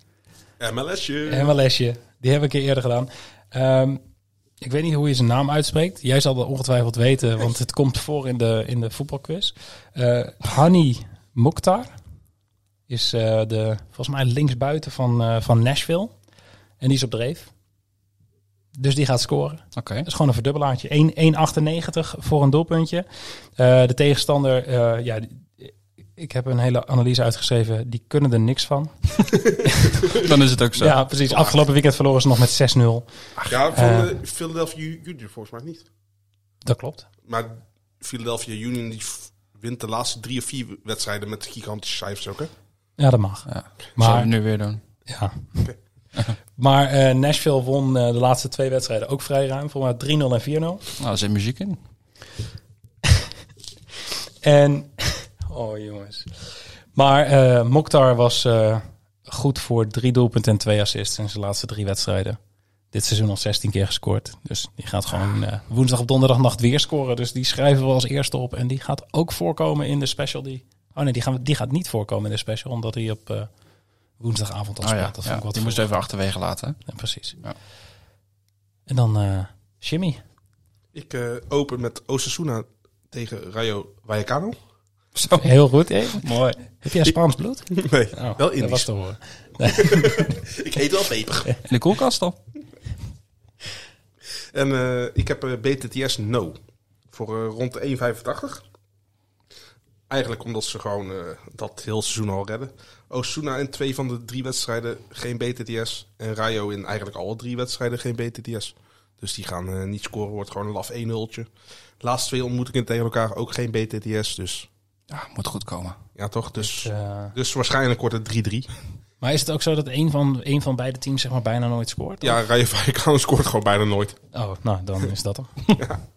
S8: MLSje.
S6: Helemaal lesje. Die heb ik een keer eerder gedaan. Ehm, ik weet niet hoe je zijn naam uitspreekt. Jij zal dat ongetwijfeld weten, want het komt voor in de, in de voetbalquiz. Eh Hani Mokhtar is eh, de, volgens mij linksbuiten van, eh, van Nashville. En die is op dreef. Dus die gaat scoren.
S7: Oké.
S6: Dat is gewoon een verdubbelaartje. 1,98 voor een doelpuntje. Eh, de tegenstander, eh, ja, die- ik heb een hele analyse uitgeschreven. Die kunnen er niks van.
S7: Dan is het ook zo.
S6: Ja, precies. Afgelopen weekend verloren ze nog met 6-0.
S8: Ja, voor
S6: Eh.
S8: de Philadelphia Union volgens mij niet.
S6: Dat klopt.
S8: Maar Philadelphia Union die f- wint de laatste drie of vier wedstrijden met gigantische cijfers ook, hè?
S6: Ja, dat mag.
S7: Ja. Zullen we
S6: Maar,
S7: nu weer doen?
S6: ja. maar eh, Nashville won eh, de laatste twee wedstrijden ook vrij ruim. Volgens mij 3-0 en 4-0.
S7: Nou, er zit muziek in.
S6: En, oh jongens. Maar eh Mokhtar was eh, goed voor drie doelpunten en twee assists in zijn laatste drie wedstrijden. Dit seizoen al 16 keer gescoord. Dus die gaat gewoon eh, woensdag op donderdagnacht weer scoren. Dus die schrijven we als eerste op. En die gaat ook voorkomen in de special. Die, oh nee, die, gaan we, die gaat niet voorkomen in de special. Omdat hij op eh, woensdagavond al
S7: Oh
S6: speelt.
S7: ja,
S6: dat vond
S7: ja.
S6: ik wat
S7: die moest
S6: vroeg.
S7: even achterwege laten.
S6: Ja, precies.
S7: Ja.
S6: En dan eh, Jimmy.
S8: Ik eh, open met Osasuna tegen Rayo Vallecano.
S7: Zo.
S6: Heel goed. Mooi. Heb jij Spaans bloed?
S8: Nee,
S6: Oh,
S8: wel
S6: dat was
S8: Indisch.
S6: te horen.
S8: Ik heet wel peper.
S7: In de koelkast al.
S8: En eh, ik heb eh, BTTS No voor eh, rond de 1,85. Eigenlijk omdat ze gewoon eh, dat heel seizoen al redden. Osuna in twee van de drie wedstrijden geen BTTS. En Rayo in eigenlijk alle drie wedstrijden geen BTTS. Dus die gaan eh, niet scoren, wordt gewoon een laf 1-0'tje. Laatste twee ontmoetingen tegen elkaar ook geen BTTS. Dus
S7: Ja, moet goed komen.
S8: ja toch, dus,
S6: Eh,
S8: dus waarschijnlijk wordt het 3-3.
S6: Maar is het ook zo dat een van, een van beide teams zeg maar bijna nooit scoort?
S8: Ja, Rayo Vallecano scoort gewoon bijna nooit.
S6: Oh, nou, dan is dat hem.
S8: En,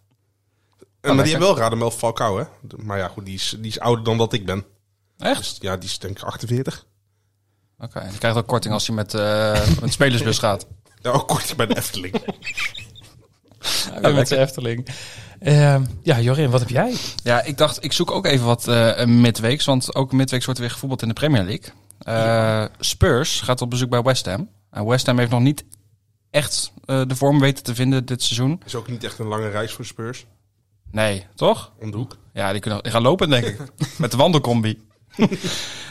S8: Eh, maar die hebben wel Radamel Falcao, hè? De- Maar ja, goed, die is, die is ouder dan dat ik ben.
S7: Echt?
S8: Dus, ja, die is denk ik 48.
S7: Oké. en Je krijgt ook korting als je
S8: Nou,
S7: met, eh met spelersbus gaat.
S8: Ja, ook kort bij de Efteling.
S6: Ja, met zijn Efteling. Ehm, ja, Jorin, wat heb jij?
S7: Ja, ik dacht, ik zoek ook even wat eh, midweeks. Want ook midweeks wordt er weer gevoetbald in de Premier League. Eh, Spurs gaat op bezoek bij West Ham. En West Ham heeft nog niet echt eh, de vorm weten te vinden dit seizoen.
S8: Is ook niet echt een lange reis voor Spurs.
S7: Nee, toch?
S8: Om de hoek.
S7: Ja, die, kunnen, die gaan lopen, denk ik. Met de wandelcombi.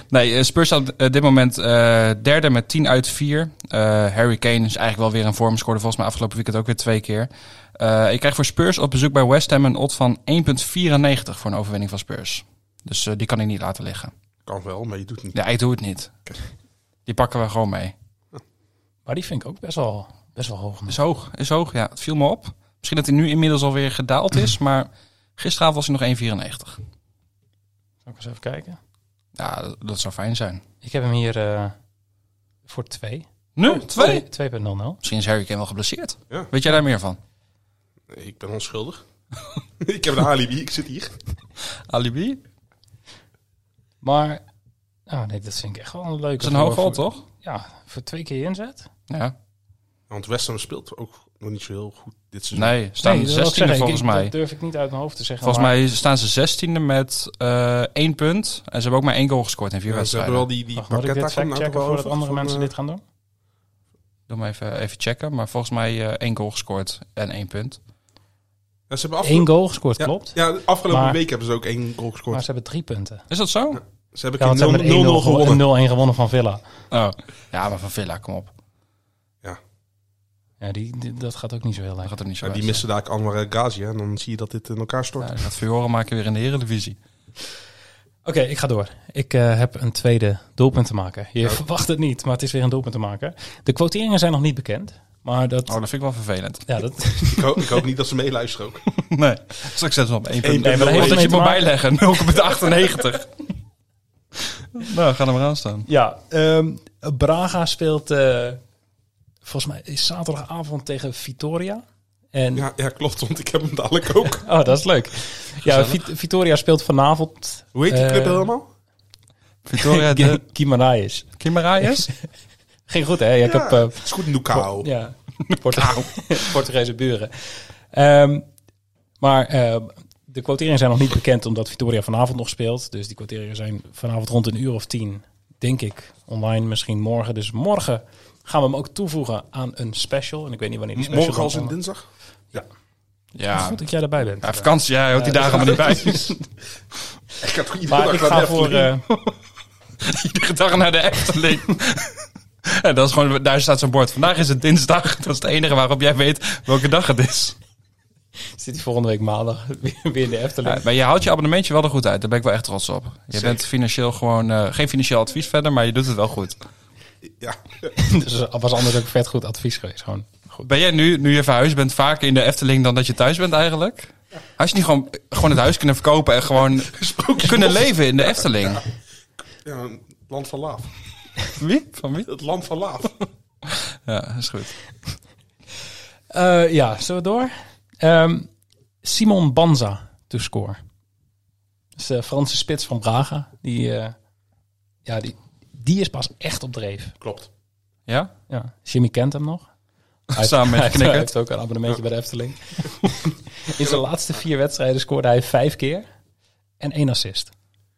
S7: nee, eh, Spurs staat op dit moment eh, derde met 10 uit 4. Eh, Harry Kane is eigenlijk wel weer in vorm. Scoorde volgens mij afgelopen weekend ook weer twee keer. Eh, ik krijg voor Spurs op bezoek bij West Ham een odd van 1,94 voor een overwinning van Spurs. Dus eh, die kan ik niet laten liggen.
S8: Kan wel, maar je doet niet.
S7: Ja, ik doe het niet. Die pakken we gewoon mee.
S6: Maar die vind ik ook best wel, best wel hoog.
S7: Is hoog, is hoog, ja. Het viel me op. Misschien dat hij nu inmiddels alweer gedaald is, maar gisteravond was hij nog 1,94.
S6: Zal ik eens even kijken.
S7: Ja, dat- dat zou fijn zijn.
S6: Ik heb hem hier eh, voor 2.
S7: Nu? Twee?
S6: 2.00.
S7: Misschien is Harry Kane wel geblesseerd.
S8: Ja.
S7: Weet jij daar meer van?
S8: Nee, ik ben onschuldig. ik heb een alibi, ik zit hier.
S7: Alibi? Dat
S6: Maar, nou nee, dat vind ik echt wel een leuke.
S7: is een
S6: voor-
S7: hoog goal,
S6: voor-
S7: toch?
S6: Ja, voor twee keer inzet.
S7: Ja.
S8: Want West Ham speelt ook nog niet zo heel goed dit seizoen.
S7: Nee, staan
S6: Nee, dat wil ik
S7: 16e
S6: zeggen, ik-
S7: volgens
S6: ik-
S7: mij.
S6: Dat durf ik niet uit mijn hoofd te zeggen.
S7: Volgens
S6: maar-
S7: mij staan ze 16e met eh één punt. En ze hebben ook maar één goal gescoord in vier
S8: Ja, ze
S7: wedstrijden.
S8: hebben wel die, die
S6: Wacht, moet ik
S8: pakket
S6: dit
S8: daar komt nou
S6: checken
S8: toch wel
S6: voordat
S8: over
S6: andere
S8: van,
S6: mensen
S8: eh,
S6: dit gaan doen?
S7: Doe maar even, even checken. Maar volgens mij eh, één goal gescoord en één punt.
S8: ja, ze hebben afge-
S6: Eén goal gescoord,
S8: ja,
S6: klopt.
S8: Ja, de afgelopen
S6: Maar-
S8: week hebben ze ook één goal gescoord.
S6: Maar ze hebben drie punten.
S7: Is dat zo?
S8: Ze hebben
S6: Ja, want ze
S8: een
S6: hebben
S8: 0-0
S6: met 1-0 gewonnen.
S8: gewonnen.
S6: 0-1 gewonnen van Villa.
S7: Oh. Ja, maar van Villa, kom op.
S6: Ja, die, die- dat gaat ook niet zo heel
S7: Dat
S6: lekker.
S7: gaat er niet zo
S8: Ja, die
S7: uit.
S8: missen daar ook Anwar El Ghazi. hè, En dan zie je dat dit in elkaar stort.
S7: Ja, die gaat furoren maken weer in de Eredivisie.
S6: Oké, ik ga door. Ik eh, heb een tweede doelpunt te maken. Je verwacht het niet, maar het is weer een doelpunt te maken. De quoteringen zijn nog niet bekend. Maar dat...
S7: Oh, dat vind ik wel vervelend.
S6: Ja, dat...
S8: ik, hoop, ik hoop niet dat ze meeluisteren ook.
S7: Nee. Straks zetten we op één punt.
S8: Eén
S7: Nee,
S8: punt.
S7: maar
S6: Heeft
S7: heeft
S6: ermee
S7: dat je
S6: te maken.
S7: moet bijleggen. 0,98. nou, ga er maar aan staan.
S6: ja, ehm, Braga speelt... eh, volgens mij is zaterdagavond tegen Vitoria. En
S8: Ja, ja, klopt. Want ik heb hem dadelijk ook.
S6: Oh, dat is leuk. Ja, Vit- Vitoria speelt vanavond.
S8: Hoe heet die
S6: Eh,
S8: club helemaal?
S7: Victoria de
S6: Kimaraes.
S7: Kimaraes?
S6: Ging goed, hè? Ja, Ik
S8: Ja,
S6: heb eh,
S8: Het is goed Nucao.
S6: ja, Ah, Portu- Portugese buren. Ehm, maar eh, de quoteringen zijn nog niet bekend omdat Vitoria vanavond nog speelt. Dus die quoteringen zijn vanavond rond een uur of tien, denk ik, online. Misschien morgen. Dus morgen gaan we hem ook toevoegen aan een special. En ik weet niet wanneer die special
S8: Morgen
S6: dan
S8: als in
S6: komt.
S8: dinsdag.
S7: Ja.
S6: Goed dat jij erbij bent.
S7: ja, vakantie, jij houdt die
S6: Ja,
S7: dagen maar niet bij.
S8: Ik had toch iedere
S6: maar
S8: dag
S6: ik
S8: naar de
S6: ga voor...
S8: Efteling?
S6: eh,
S7: Iedere dag naar de Efteling. En dat is gewoon, daar staat zo'n bord. Vandaag is het dinsdag. Dat is het enige waarop jij weet welke dag het is.
S6: zit hij volgende week maandag weer weer in de Efteling.
S7: Ja, maar je houdt je abonnementje wel er goed uit. Daar ben ik wel echt trots op. Je bent financieel gewoon, eh, geen financieel advies verder, maar je doet het wel goed.
S8: Ja.
S6: Dus dat was anders ook vet goed advies geweest. Gewoon.
S7: Ben jij nu, nu je verhuisd bent, vaker in de Efteling dan dat je thuis bent eigenlijk? Had je niet gewoon, gewoon het huis kunnen verkopen en gewoon kunnen leven in de Efteling?
S8: ja, een land van laaf.
S7: Wie? Van wie?
S8: Het land van laaf.
S7: Ja, dat is goed.
S6: Eh, ja, zullen we door? Ehm, Simon Banza to score. Dat is de Franse spits van Braga. Die, eh, ja, die, die is pas echt op dreef.
S8: Klopt.
S7: Ja?
S6: Ja. Jimmy kent hem nog. Hij heeft-
S7: Samen met
S6: hij heeft-
S7: Knikkert.
S6: Hij heeft ook een abonnementje bij de Efteling. In zijn laatste vier wedstrijden scoorde hij vijf keer. En één assist.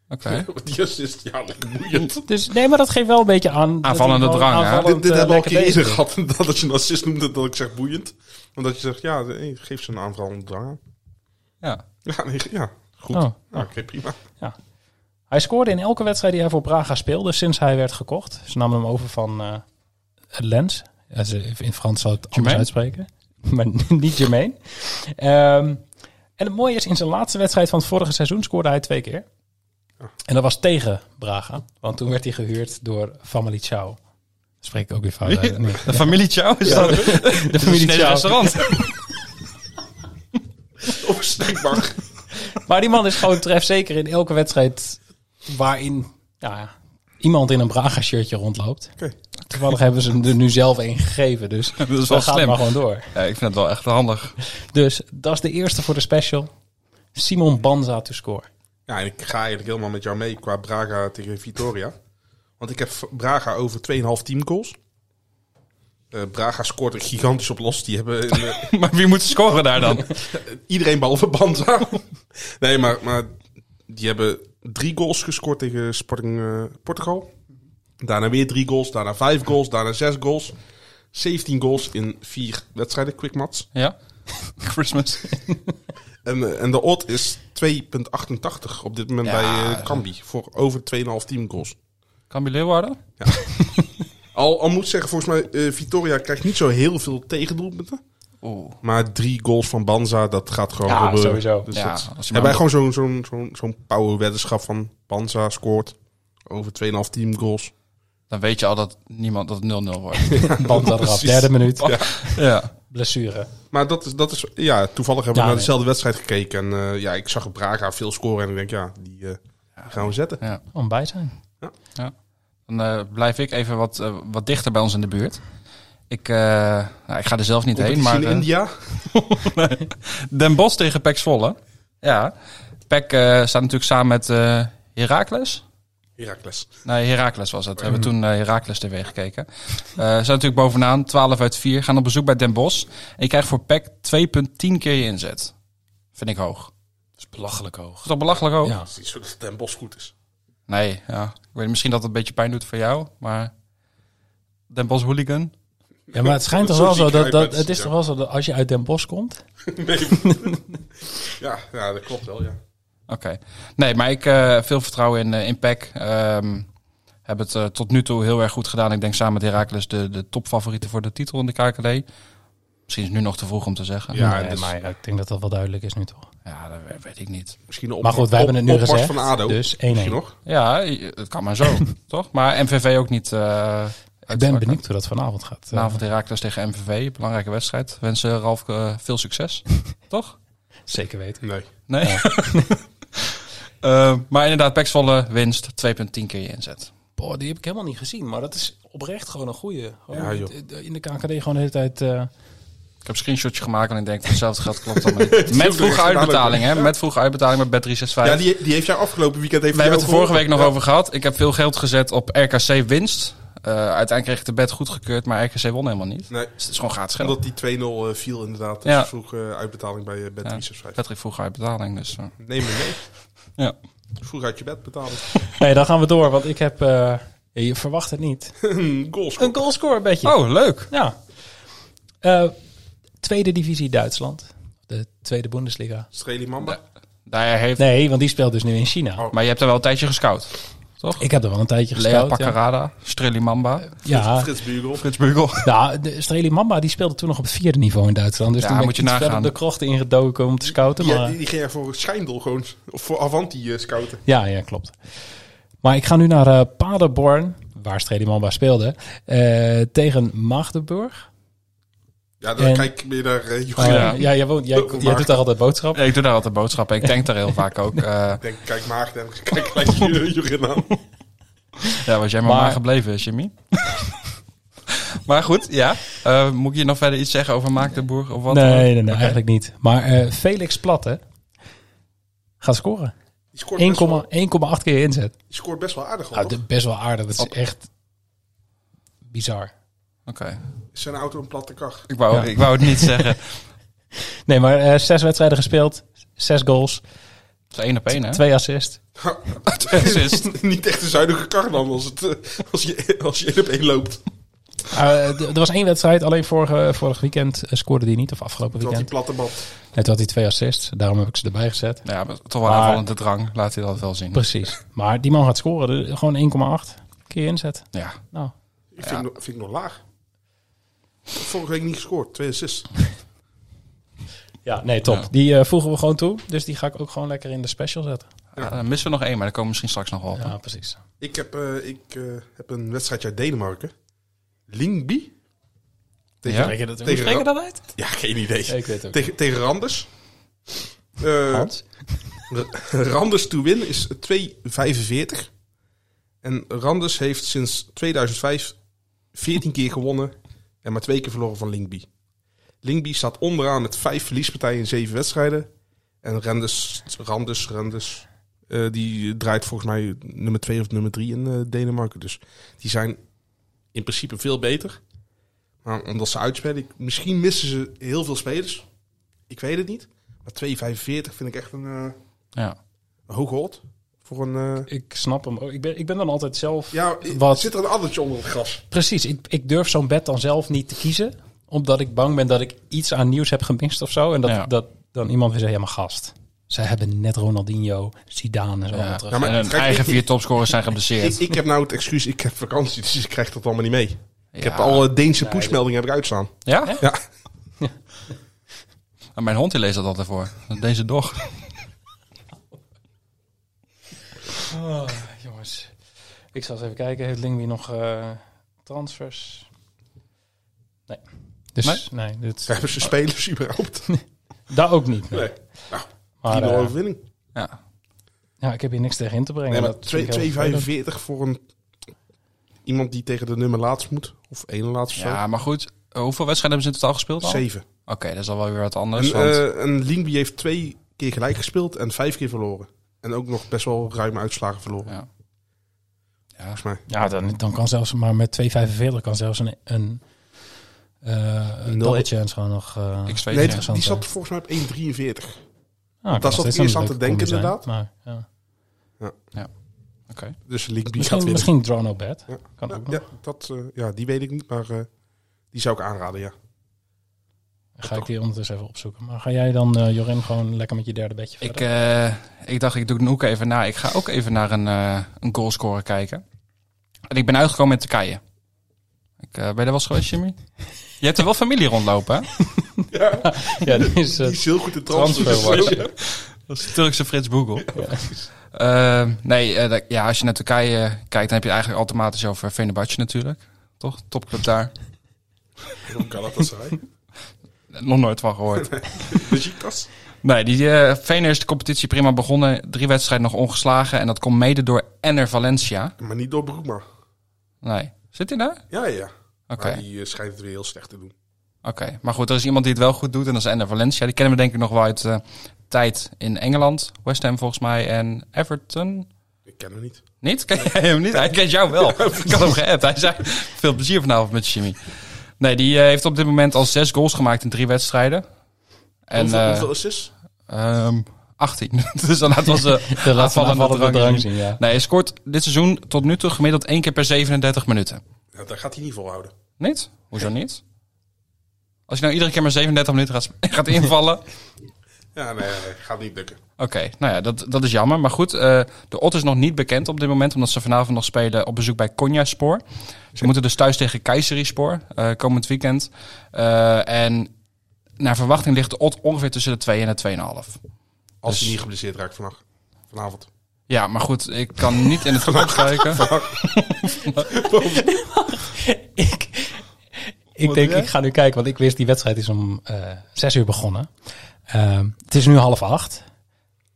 S7: Oké.
S8: Want Die assist, ja, lekker boeiend.
S6: Dus nee, maar dat geeft wel een beetje aan... dat hij
S7: Aanvallende
S6: gewoon
S7: drang, hè?
S6: aanvallend,
S8: Dit, dit
S6: eh,
S8: hebben we al een
S6: lekker
S8: keer eerder
S6: bezig is.
S8: gehad. Dat als je een assist noemde, dat ik zeg boeiend. Omdat je zegt, ja, nee, geef ze een aanval een drang aan.
S7: Ja.
S8: Ja, nee, ja goed.
S6: Oh.
S8: Ja, Oké, prima.
S6: Hij scoorde in elke wedstrijd die hij voor Braga speelde sinds hij werd gekocht. Ze namen hem over van eh, Lens. Ja, ze- in Frans zal het anders
S7: Jermaine?
S6: uitspreken. Maar niet Jermaine. Ehm, en het mooie is, in zijn laatste wedstrijd van het vorige seizoen scoorde hij twee keer. En dat was tegen Braga. Want toen werd hij gehuurd door Family Chow. Spreek ik ook weer fout uit. Nee.
S7: De familie Chow oh, is dat?
S6: De
S7: Een
S6: familie
S7: Chinees
S6: Chow.
S7: restaurant.
S8: Of een snackbar.
S6: Maar die man is gewoon trefzeker in elke wedstrijd waarin ja, iemand in een Braga-shirtje rondloopt.
S8: Oké.
S6: Toevallig hebben ze hem er nu zelf een gegeven, dus
S7: Dat is wel
S6: dat gaat
S7: slim.
S6: maar gewoon door.
S7: Ja, ik vind het wel echt handig.
S6: Dus dat is de eerste voor de special. Simon Banza to score.
S8: Ja, en ik ga eigenlijk helemaal met jou mee qua Braga tegen Vitoria. Want ik heb Braga over 2,5 teamgoals. Eh, Braga scoort er gigantisch op los. Die hebben in de-
S7: maar wie moet scoren daar dan?
S8: Iedereen behalve Banza. nee, maar, maar die hebben drie goals gescoord tegen Sporting eh, Portugal. Daarna weer drie goals, daarna vijf goals, daarna zes goals. 17 goals in vier wedstrijden, quick mats.
S7: ja? Christmas.
S8: En, eh, en de odd is 2,88 op dit moment bij
S7: Ja,
S8: eh, Cambi. Voor over 2,5 team goals.
S7: Cambi Leeuwarden?
S8: Al, al moet ik zeggen, volgens mij, eh, Vitoria krijgt niet zo heel veel tegendoelpunten.
S7: Oeh.
S8: Maar drie goals van Banza, dat gaat gewoon
S6: Ja,
S8: gebeuren.
S6: sowieso.
S8: Dus
S7: Ja,
S8: dat-
S7: als je maar-
S8: hebben wij gewoon zo'n zo'n zo'n zo'n power weddenschap van Banza scoort over 2,5 team goals.
S7: Dan weet je al dat niemand dat het 0-0 wordt.
S6: Band eraf,
S8: precies.
S6: derde minuut,
S7: ja.
S6: blessure.
S8: Maar dat is, dat is ja, toevallig hebben
S6: Ja,
S8: we naar
S6: nee.
S8: dezelfde wedstrijd gekeken. En eh, ja, ik zag op Braga veel scoren en ik denk, ja, die eh, gaan we zetten.
S6: Om bij zijn.
S7: Dan eh, blijf ik even wat, eh, wat dichter bij ons in de buurt. Ik, eh, nou, ik ga er zelf niet heen, maar...
S8: Competitie in
S7: eh,
S8: India.
S7: Den Bosch tegen Pek Zwolle. Ja. Pek eh, staat natuurlijk samen met eh Heracles.
S8: Heracles.
S7: Nee, Heracles was het. We
S1: Mm.
S7: hebben toen eh, Heracles TV gekeken. Eh zijn natuurlijk bovenaan, 12 uit 4. Gaan op bezoek bij Den Bosch. En je krijgt voor E PEC 2,10 keer je inzet. Vind ik hoog. Dat
S1: Dat is belachelijk hoog.
S7: is toch belachelijk hoog?
S6: Ja.
S8: Het is niet zo dat Den Bosch goed is.
S7: Nee, ja. Ik weet misschien dat het een beetje pijn doet voor jou, maar... Den Bosch hooligan.
S6: Ja, maar het schijnt toch
S8: Zo
S6: wel
S8: zie
S6: zo
S8: ik
S6: dat,
S8: uit
S6: dat
S8: mensen,
S6: het is
S8: ja.
S6: toch wel zo dat als je uit Den Bosch komt,
S8: Nee. ja, ja, dat klopt wel, ja.
S7: Oké. Nee, maar ik eh veel vertrouwen in, eh in PEC. Ehm, heb het eh, tot nu toe heel erg goed gedaan. Ik denk samen met Heracles de, de topfavorieten voor de titel in de KKD. Misschien is het nu nog te vroeg om te zeggen.
S8: Ja,
S6: Nee,
S8: dus
S6: maar ik denk dat dat wel duidelijk is nu toch.
S7: Ja, dat we- weet ik niet.
S8: misschien een
S6: Maar goed, wij
S8: op-
S6: hebben het nu
S8: opmars
S6: gezegd.
S8: van ADO.
S6: Dus 1-1.
S8: Misschien nog.
S7: Ja, je- het kan maar zo, toch? Maar MVV ook niet. eh,
S6: Ik ben
S7: uitgezakt.
S6: benieuwd eh. hoe dat vanavond gaat.
S7: Vanavond Heracles tegen MVV, belangrijke wedstrijd. Wensen Ralf eh, veel succes, toch?
S6: Eh, zeker weten.
S8: Nee.
S7: Nee. Eh, maar inderdaad, Pexvolle winst 2,10 keer je inzet.
S6: Boah, die heb ik helemaal niet gezien. Maar dat is oprecht gewoon een goeie. Gewoon
S8: Ja, joh.
S6: d- d- In de KKD gewoon de hele tijd... eh,
S7: Ik heb een screenshotje gemaakt en ik denk, hetzelfde geld klopt allemaal niet. Met vroege uitbetaling, hè? Met vroege uitbetaling met Bet365.
S8: Ja, die, die heeft jou afgelopen weekend even...
S7: We hebben het er vorige week nog over gehad. Ik heb veel geld gezet op RKC winst. Eh, uiteindelijk kreeg ik de bet goedgekeurd, maar RKC won helemaal niet.
S8: Nee.
S7: Dus het is gewoon gratis geld.
S8: Omdat die 2-0 eh, viel inderdaad. Dus
S7: Ja.
S8: vroeg eh, uitbetaling bij eh, bed
S7: Ja.
S8: 365.
S7: Patrick vroeg haar betaling, dus... eh.
S8: Neem me mee.
S7: Ja.
S8: Vroeg uit je bed betalen.
S6: Nee, dan gaan we door. Want ik heb... eh, ja, je verwacht het niet.
S8: Een goalscore.
S6: Een goalscore bedje.
S7: Oh, leuk!
S6: Ja. Eh, tweede divisie Duitsland. De tweede Bundesliga.
S8: Streli Mamba.
S7: Daar heeft...
S6: Nee, want die speelt dus nu in China.
S7: Maar je hebt er wel een tijdje gescout.
S6: Ik heb er wel een tijdje
S7: Lea
S6: gescout. ja.
S7: Paccarada, Streli Mamba.
S6: Ja,
S8: Frits Bugel.
S7: Eh, Frits Bugel.
S6: Nou, de Streli Mamba die speelde toen nog op het vierde niveau in Duitsland. Dus
S7: Ja,
S6: toen ben
S7: moet
S6: ik
S7: je
S6: iets
S7: nagaan.
S6: verder de krochten ingedoken om te scouten.
S8: Die, eh,
S6: Maar...
S8: die, die ging er voor Schijndel gewoon. Of voor Avanti eh, scouten.
S6: Ja, ja, klopt. Maar ik ga nu naar eh, Paderborn, waar Streli Mamba speelde, eh, tegen Magdeburg.
S8: Ja, dan
S6: En-
S8: kijk je naar eh
S6: Oh,
S8: Joachim.
S6: ja, ja, jij, woont, jij, jij doet daar altijd boodschap.
S7: Ik doe daar altijd boodschappen. Ik denk daar heel vaak ook. eh,
S8: Ik denk, kijk Maagden. en Kijk gelijk Ju- Jurgen aan.
S7: ja, was jij maar,
S6: Maar-
S7: maar gebleven, Jimmy. maar goed, ja. Eh, moet ik je nog verder iets zeggen over Maaktenburg of wat?
S6: nee,
S7: dan ook?
S6: nee, nee,
S7: Oké.
S6: eigenlijk niet. Maar eh, Felix Platte gaat scoren. 1,8
S8: Die scoort, best wel,
S6: keer inzet.
S8: die scoort best wel aardig. hoor.
S6: Nou, dit is best wel aardig. Dat is
S7: Op-
S6: echt bizar.
S7: Oké.
S8: Is zijn auto een platte kar?
S7: Ik, wou,
S6: Ja.
S7: ik wou het niet zeggen.
S6: Nee, maar eh, zes wedstrijden gespeeld, zes goals,
S7: Het is één op één, hè?
S6: twee assists.
S7: assist.
S8: Niet echt een zuinige kar dan. Als, het, eh, als, je, als je één op één loopt.
S6: Eh, d- er was één wedstrijd, alleen vorige, vorig weekend eh, scoorde die niet, of afgelopen
S8: Dat die
S6: weekend.
S8: platte bal.
S6: Net had hij twee assists, daarom heb ik ze erbij gezet.
S7: Ja, maar toch wel
S6: Maar-
S7: aanvallende drang. Laat hij dat wel zien.
S6: Precies. Maar die man gaat scoren, dus gewoon 1,8 keer inzet.
S7: Ja.
S6: Nou,
S8: Ik vind, nog- vind ik nog laag. Vorige week niet gescoord. Twee assists.
S6: ja, nee, top.
S7: Ja.
S6: Die eh, voegen we gewoon toe, dus die ga ik ook gewoon lekker in de special zetten.
S7: Ja, Eh, dan missen we nog één, maar daar komen we misschien straks nog wel op.
S6: Ja, precies.
S8: Ik heb, eh, ik, eh, heb een wedstrijdje uit Denemarken. Lingby? Tegen,
S7: Ja?
S6: Spreek je dat,
S8: Tegen-
S6: spreek je dat uit?
S8: Ja, geen idee.
S6: ik weet het ook.
S8: tegen, tegen Randers. Eh,
S6: Hans?
S8: R- Randers to win is 2,45. En Randers heeft sinds 2005 14 keer gewonnen en maar twee keer verloren van Lingby. Lingby staat onderaan met vijf verliespartijen in zeven wedstrijden. En Randers, Randers, Randers, eh, die draait volgens mij nummer 2 of nummer 3 in eh, Denemarken. Dus die zijn in principe veel beter. Maar omdat ze uitspelen, ik- misschien missen ze heel veel spelers. Ik weet het niet. Maar 2,45 vind ik echt een eh
S7: Ja.
S8: hoge hot. Voor een... eh,
S6: Ik snap hem ook. Ik ben, ik ben dan altijd zelf...
S8: ja,
S6: Wat?
S8: zit er een addertje onder het gras?
S6: Precies, ik, ik durf zo'n bed dan zelf niet te kiezen. Omdat ik bang ben dat ik iets aan nieuws heb gemist of zo. En dat,
S7: Ja.
S6: dat dan iemand weer zegt, ja maar gast. Zij hebben net Ronaldinho, Zidane en zo allemaal terug.
S8: Ja, maar
S7: en hun
S8: kijk,
S7: eigen
S8: ik-
S7: vier topscorers zijn
S8: Ik,
S7: geblesseerd.
S8: ik heb nou het excuus, ik heb vakantie, dus ik krijg dat allemaal niet mee. Ik
S7: Ja.
S8: heb alle Deense pushmeldingen heb ik uitstaan.
S7: Ja?
S8: Ja.
S7: En Mijn hond die leest dat altijd voor. Deze dog.
S6: Oh, jongens, ik zal eens even kijken. Heeft Lingby nog eh, transfers? Nee. Dus, nee, dit,
S8: Hebben ze spelers überhaupt?
S6: dat ook niet.
S8: Nee.
S6: Maar,
S8: 10-0
S6: eh,
S8: overwinning.
S7: Ja.
S6: ja, ik heb hier niks tegen in te brengen.
S8: Nee, maar
S6: Dat vind ik heel vervelend.
S8: 2,45 voor een, iemand die tegen de nummer laatst moet. Of één laatst of zo.
S7: ja, maar goed. eh, Hoeveel wedstrijden hebben ze in totaal gespeeld al?
S8: Zeven.
S7: Oké, dat is al wel weer wat
S8: En,
S7: anders. want-
S8: eh en Lingby heeft twee keer gelijk gespeeld en vijf keer verloren. En ook nog best wel ruime uitslagen verloren.
S7: Ja. Ja.
S8: Volgens mij.
S6: Ja, dan, dan kan zelfs maar met 2,45 kan zelfs een, een, eh een
S8: Nul.
S6: double chance gewoon nog... eh,
S7: X2
S8: Nee,
S7: ja.
S8: die
S6: interessant,
S8: zat
S6: hè?
S8: volgens mij op 1,43.
S6: Ah, kan nog
S8: dat zat
S6: steeds
S8: eerst
S6: een
S8: aan te
S6: leuke combi
S8: denken,
S6: zijn,
S8: inderdaad.
S6: Maar, ja.
S8: Dus Lingby gaat
S6: Misschien,
S8: winnen.
S6: misschien draw no bad.
S8: Ja.
S6: Kan ook nog.
S8: Ja, dat, eh, ja, die weet ik niet, maar eh, die zou ik aanraden, ja.
S6: Ga ik die ondertussen even opzoeken. Maar ga jij dan, eh Jorin, gewoon lekker met je derde bedje
S7: Ik,
S6: verder?
S7: eh, ik dacht, ik doe Noek even na. Ik ga ook even naar een, eh een goalscorer kijken. En ik ben uitgekomen in Turkije. Ik, eh, ben je daar wel eens geweest, Jimmy? Je hebt er wel familie rondlopen, hè?
S6: ja, die is
S8: Die
S6: eh,
S8: is heel goed in transfer.
S6: transferwatch.
S7: Dat is de Turkse Frits Boegel. Ehm, nee, eh, dat- ja, als je naar Turkije kijkt, dan heb je het eigenlijk automatisch over Fenerbahce natuurlijk. Toch? Topclub daar.
S8: Kan dat zijn?
S7: Nog nooit van gehoord.
S8: Beşiktaş.
S7: Nee, die eh Fener is de competitie prima begonnen. Drie wedstrijden nog ongeslagen. En dat komt mede door Enner Valencia.
S8: Maar niet door Broekma.
S7: Nee. Zit hij daar? Oké.
S8: Ja, ja. Maar die eh, schijnt het weer heel slecht te doen.
S7: Oké, maar goed, er is iemand die het wel goed doet en dat is Ender Valencia. Die kennen we denk ik nog wel uit eh, tijd in Engeland. West Ham volgens mij en Everton.
S8: Ik ken hem niet.
S7: Niet? Ken jij hem niet? Hij kent jou wel. Ik had hem geappt. Hij zei, veel plezier vanavond met Jimmy. Nee, die eh, heeft op dit moment al zes goals gemaakt in drie wedstrijden. En
S8: hoeveel,
S7: eh,
S8: hoeveel assists?
S7: ehm, 18. dus dan laten we ze
S6: de laatste
S7: aanvallende
S6: aanval de
S7: drang
S6: drang
S7: zien.
S6: zien, ja.
S7: Nee, hij scoort dit seizoen tot nu toe gemiddeld één keer per 37 minuten.
S8: Ja, dat gaat hij niet volhouden.
S7: Niet? Hoezo niet? Als je nou iedere keer maar 37 minuten gaat, gaat invallen...
S8: Ja, nee, nee, nee, gaat niet lukken.
S7: Oké, nou ja, dat, dat is jammer. Maar goed, eh, de Ot is nog niet bekend op dit moment, omdat ze vanavond nog spelen op bezoek bij Konyaspor. Ze moeten dus thuis tegen Keizerispor eh komend weekend. Eh, en naar verwachting ligt de Ot ongeveer tussen de 2 en de 2,5.
S8: Als
S7: Dus-
S8: hij niet geblesseerd raakt vannacht. Vanavond.
S7: Ja, maar goed, ik kan niet in de toekomst kijken.
S6: ik, ik denk,
S7: jij?
S6: ik ga nu kijken, want ik wist die wedstrijd is om eh zes uur begonnen. Ehm, het is nu half acht.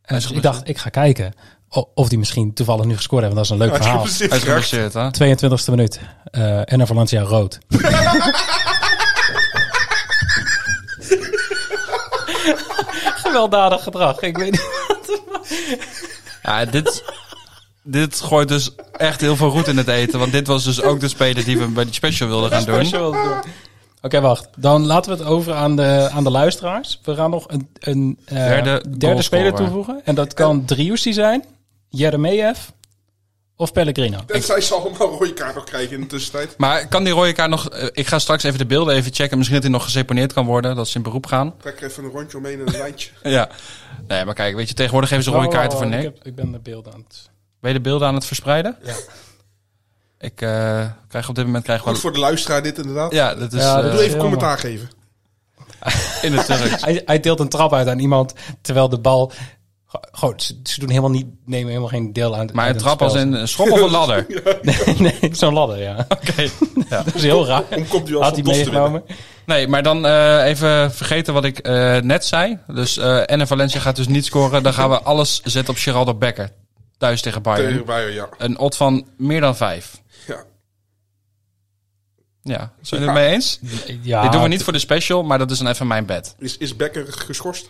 S6: Eh, dus ik dacht, ik ga kijken o- of die misschien toevallig nu gescoord hebben. want Dat is een leuk verhaal.
S7: Hij is geblesseerd, hè?
S6: 22e minuut. Eh en een Valencia rood. Gewelddadig gedrag. Ik weet niet.
S7: Ja, dit, dit gooit dus echt heel veel roet in het eten. Want dit was dus ook de speler die we bij die special wilden gaan doen.
S6: Oké, wacht. Dan laten we het over aan de, aan de luisteraars. We gaan nog een, een eh,
S7: Derde goalscorer. Eh.
S6: speler toevoegen. En dat kan Driussi zijn, Jeremejeff of Pellegrino.
S8: En zij zal allemaal een rode kaart nog krijgen in de tussentijd.
S7: Maar kan die rode kaart nog... eh, Ik ga straks even de beelden even checken. Misschien dat hij nog geseponeerd kan worden. Dat ze in beroep gaan.
S8: Trek er even een rondje omheen en een lijntje.
S7: Ja. Nee, maar kijk, weet je, tegenwoordig geven ze rode kaarten voor
S6: Oh,
S7: niks.
S6: Ik, heb- ik ben de beelden aan het...
S7: Ben je de beelden aan het verspreiden? Ja. Ik eh, krijg op dit moment krijg
S8: Goed
S7: gewoon...
S8: voor de luisteraar dit inderdaad.
S7: Ja, dat is
S6: Ja, dat
S7: eh,
S8: Doe even
S6: jammer.
S8: commentaar geven.
S7: in het Turks.
S6: Hij, hij deelt een trap uit aan iemand, terwijl de bal... go- Gewoon, ze, ze doen helemaal niet, nemen helemaal geen deel aan.
S7: Maar
S6: aan
S7: een
S6: het
S7: trap
S6: spel.
S7: als een een schop of een ladder.
S6: nee, zo'n ladder, ja.
S7: Oké.
S6: Dat is heel raar.
S8: Dan komt u als
S6: Had hij
S8: een dos te winnen.
S6: meegenomen.
S7: Nee, maar dan eh, even vergeten wat ik eh, net zei. Dus eh Enne Valencia gaat dus niet scoren. Dan gaan we alles zetten op Geraldo Becker. Thuis tegen
S8: Tegen
S7: Bayern.
S8: Bayern, Eh, ja.
S7: Een odd van meer dan vijf.
S8: ja.
S7: Ja, zijn jullie het mee eens?
S6: Ja,
S7: Dit doen we niet voor de special, maar dat is dan even mijn bed.
S8: Is, is Becker geschorst?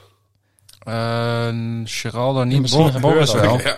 S7: Eh Geraldo niet,
S6: Misschien
S7: Bor-
S6: gebeurt
S7: Boris
S6: dat.
S7: wel.
S8: Ja.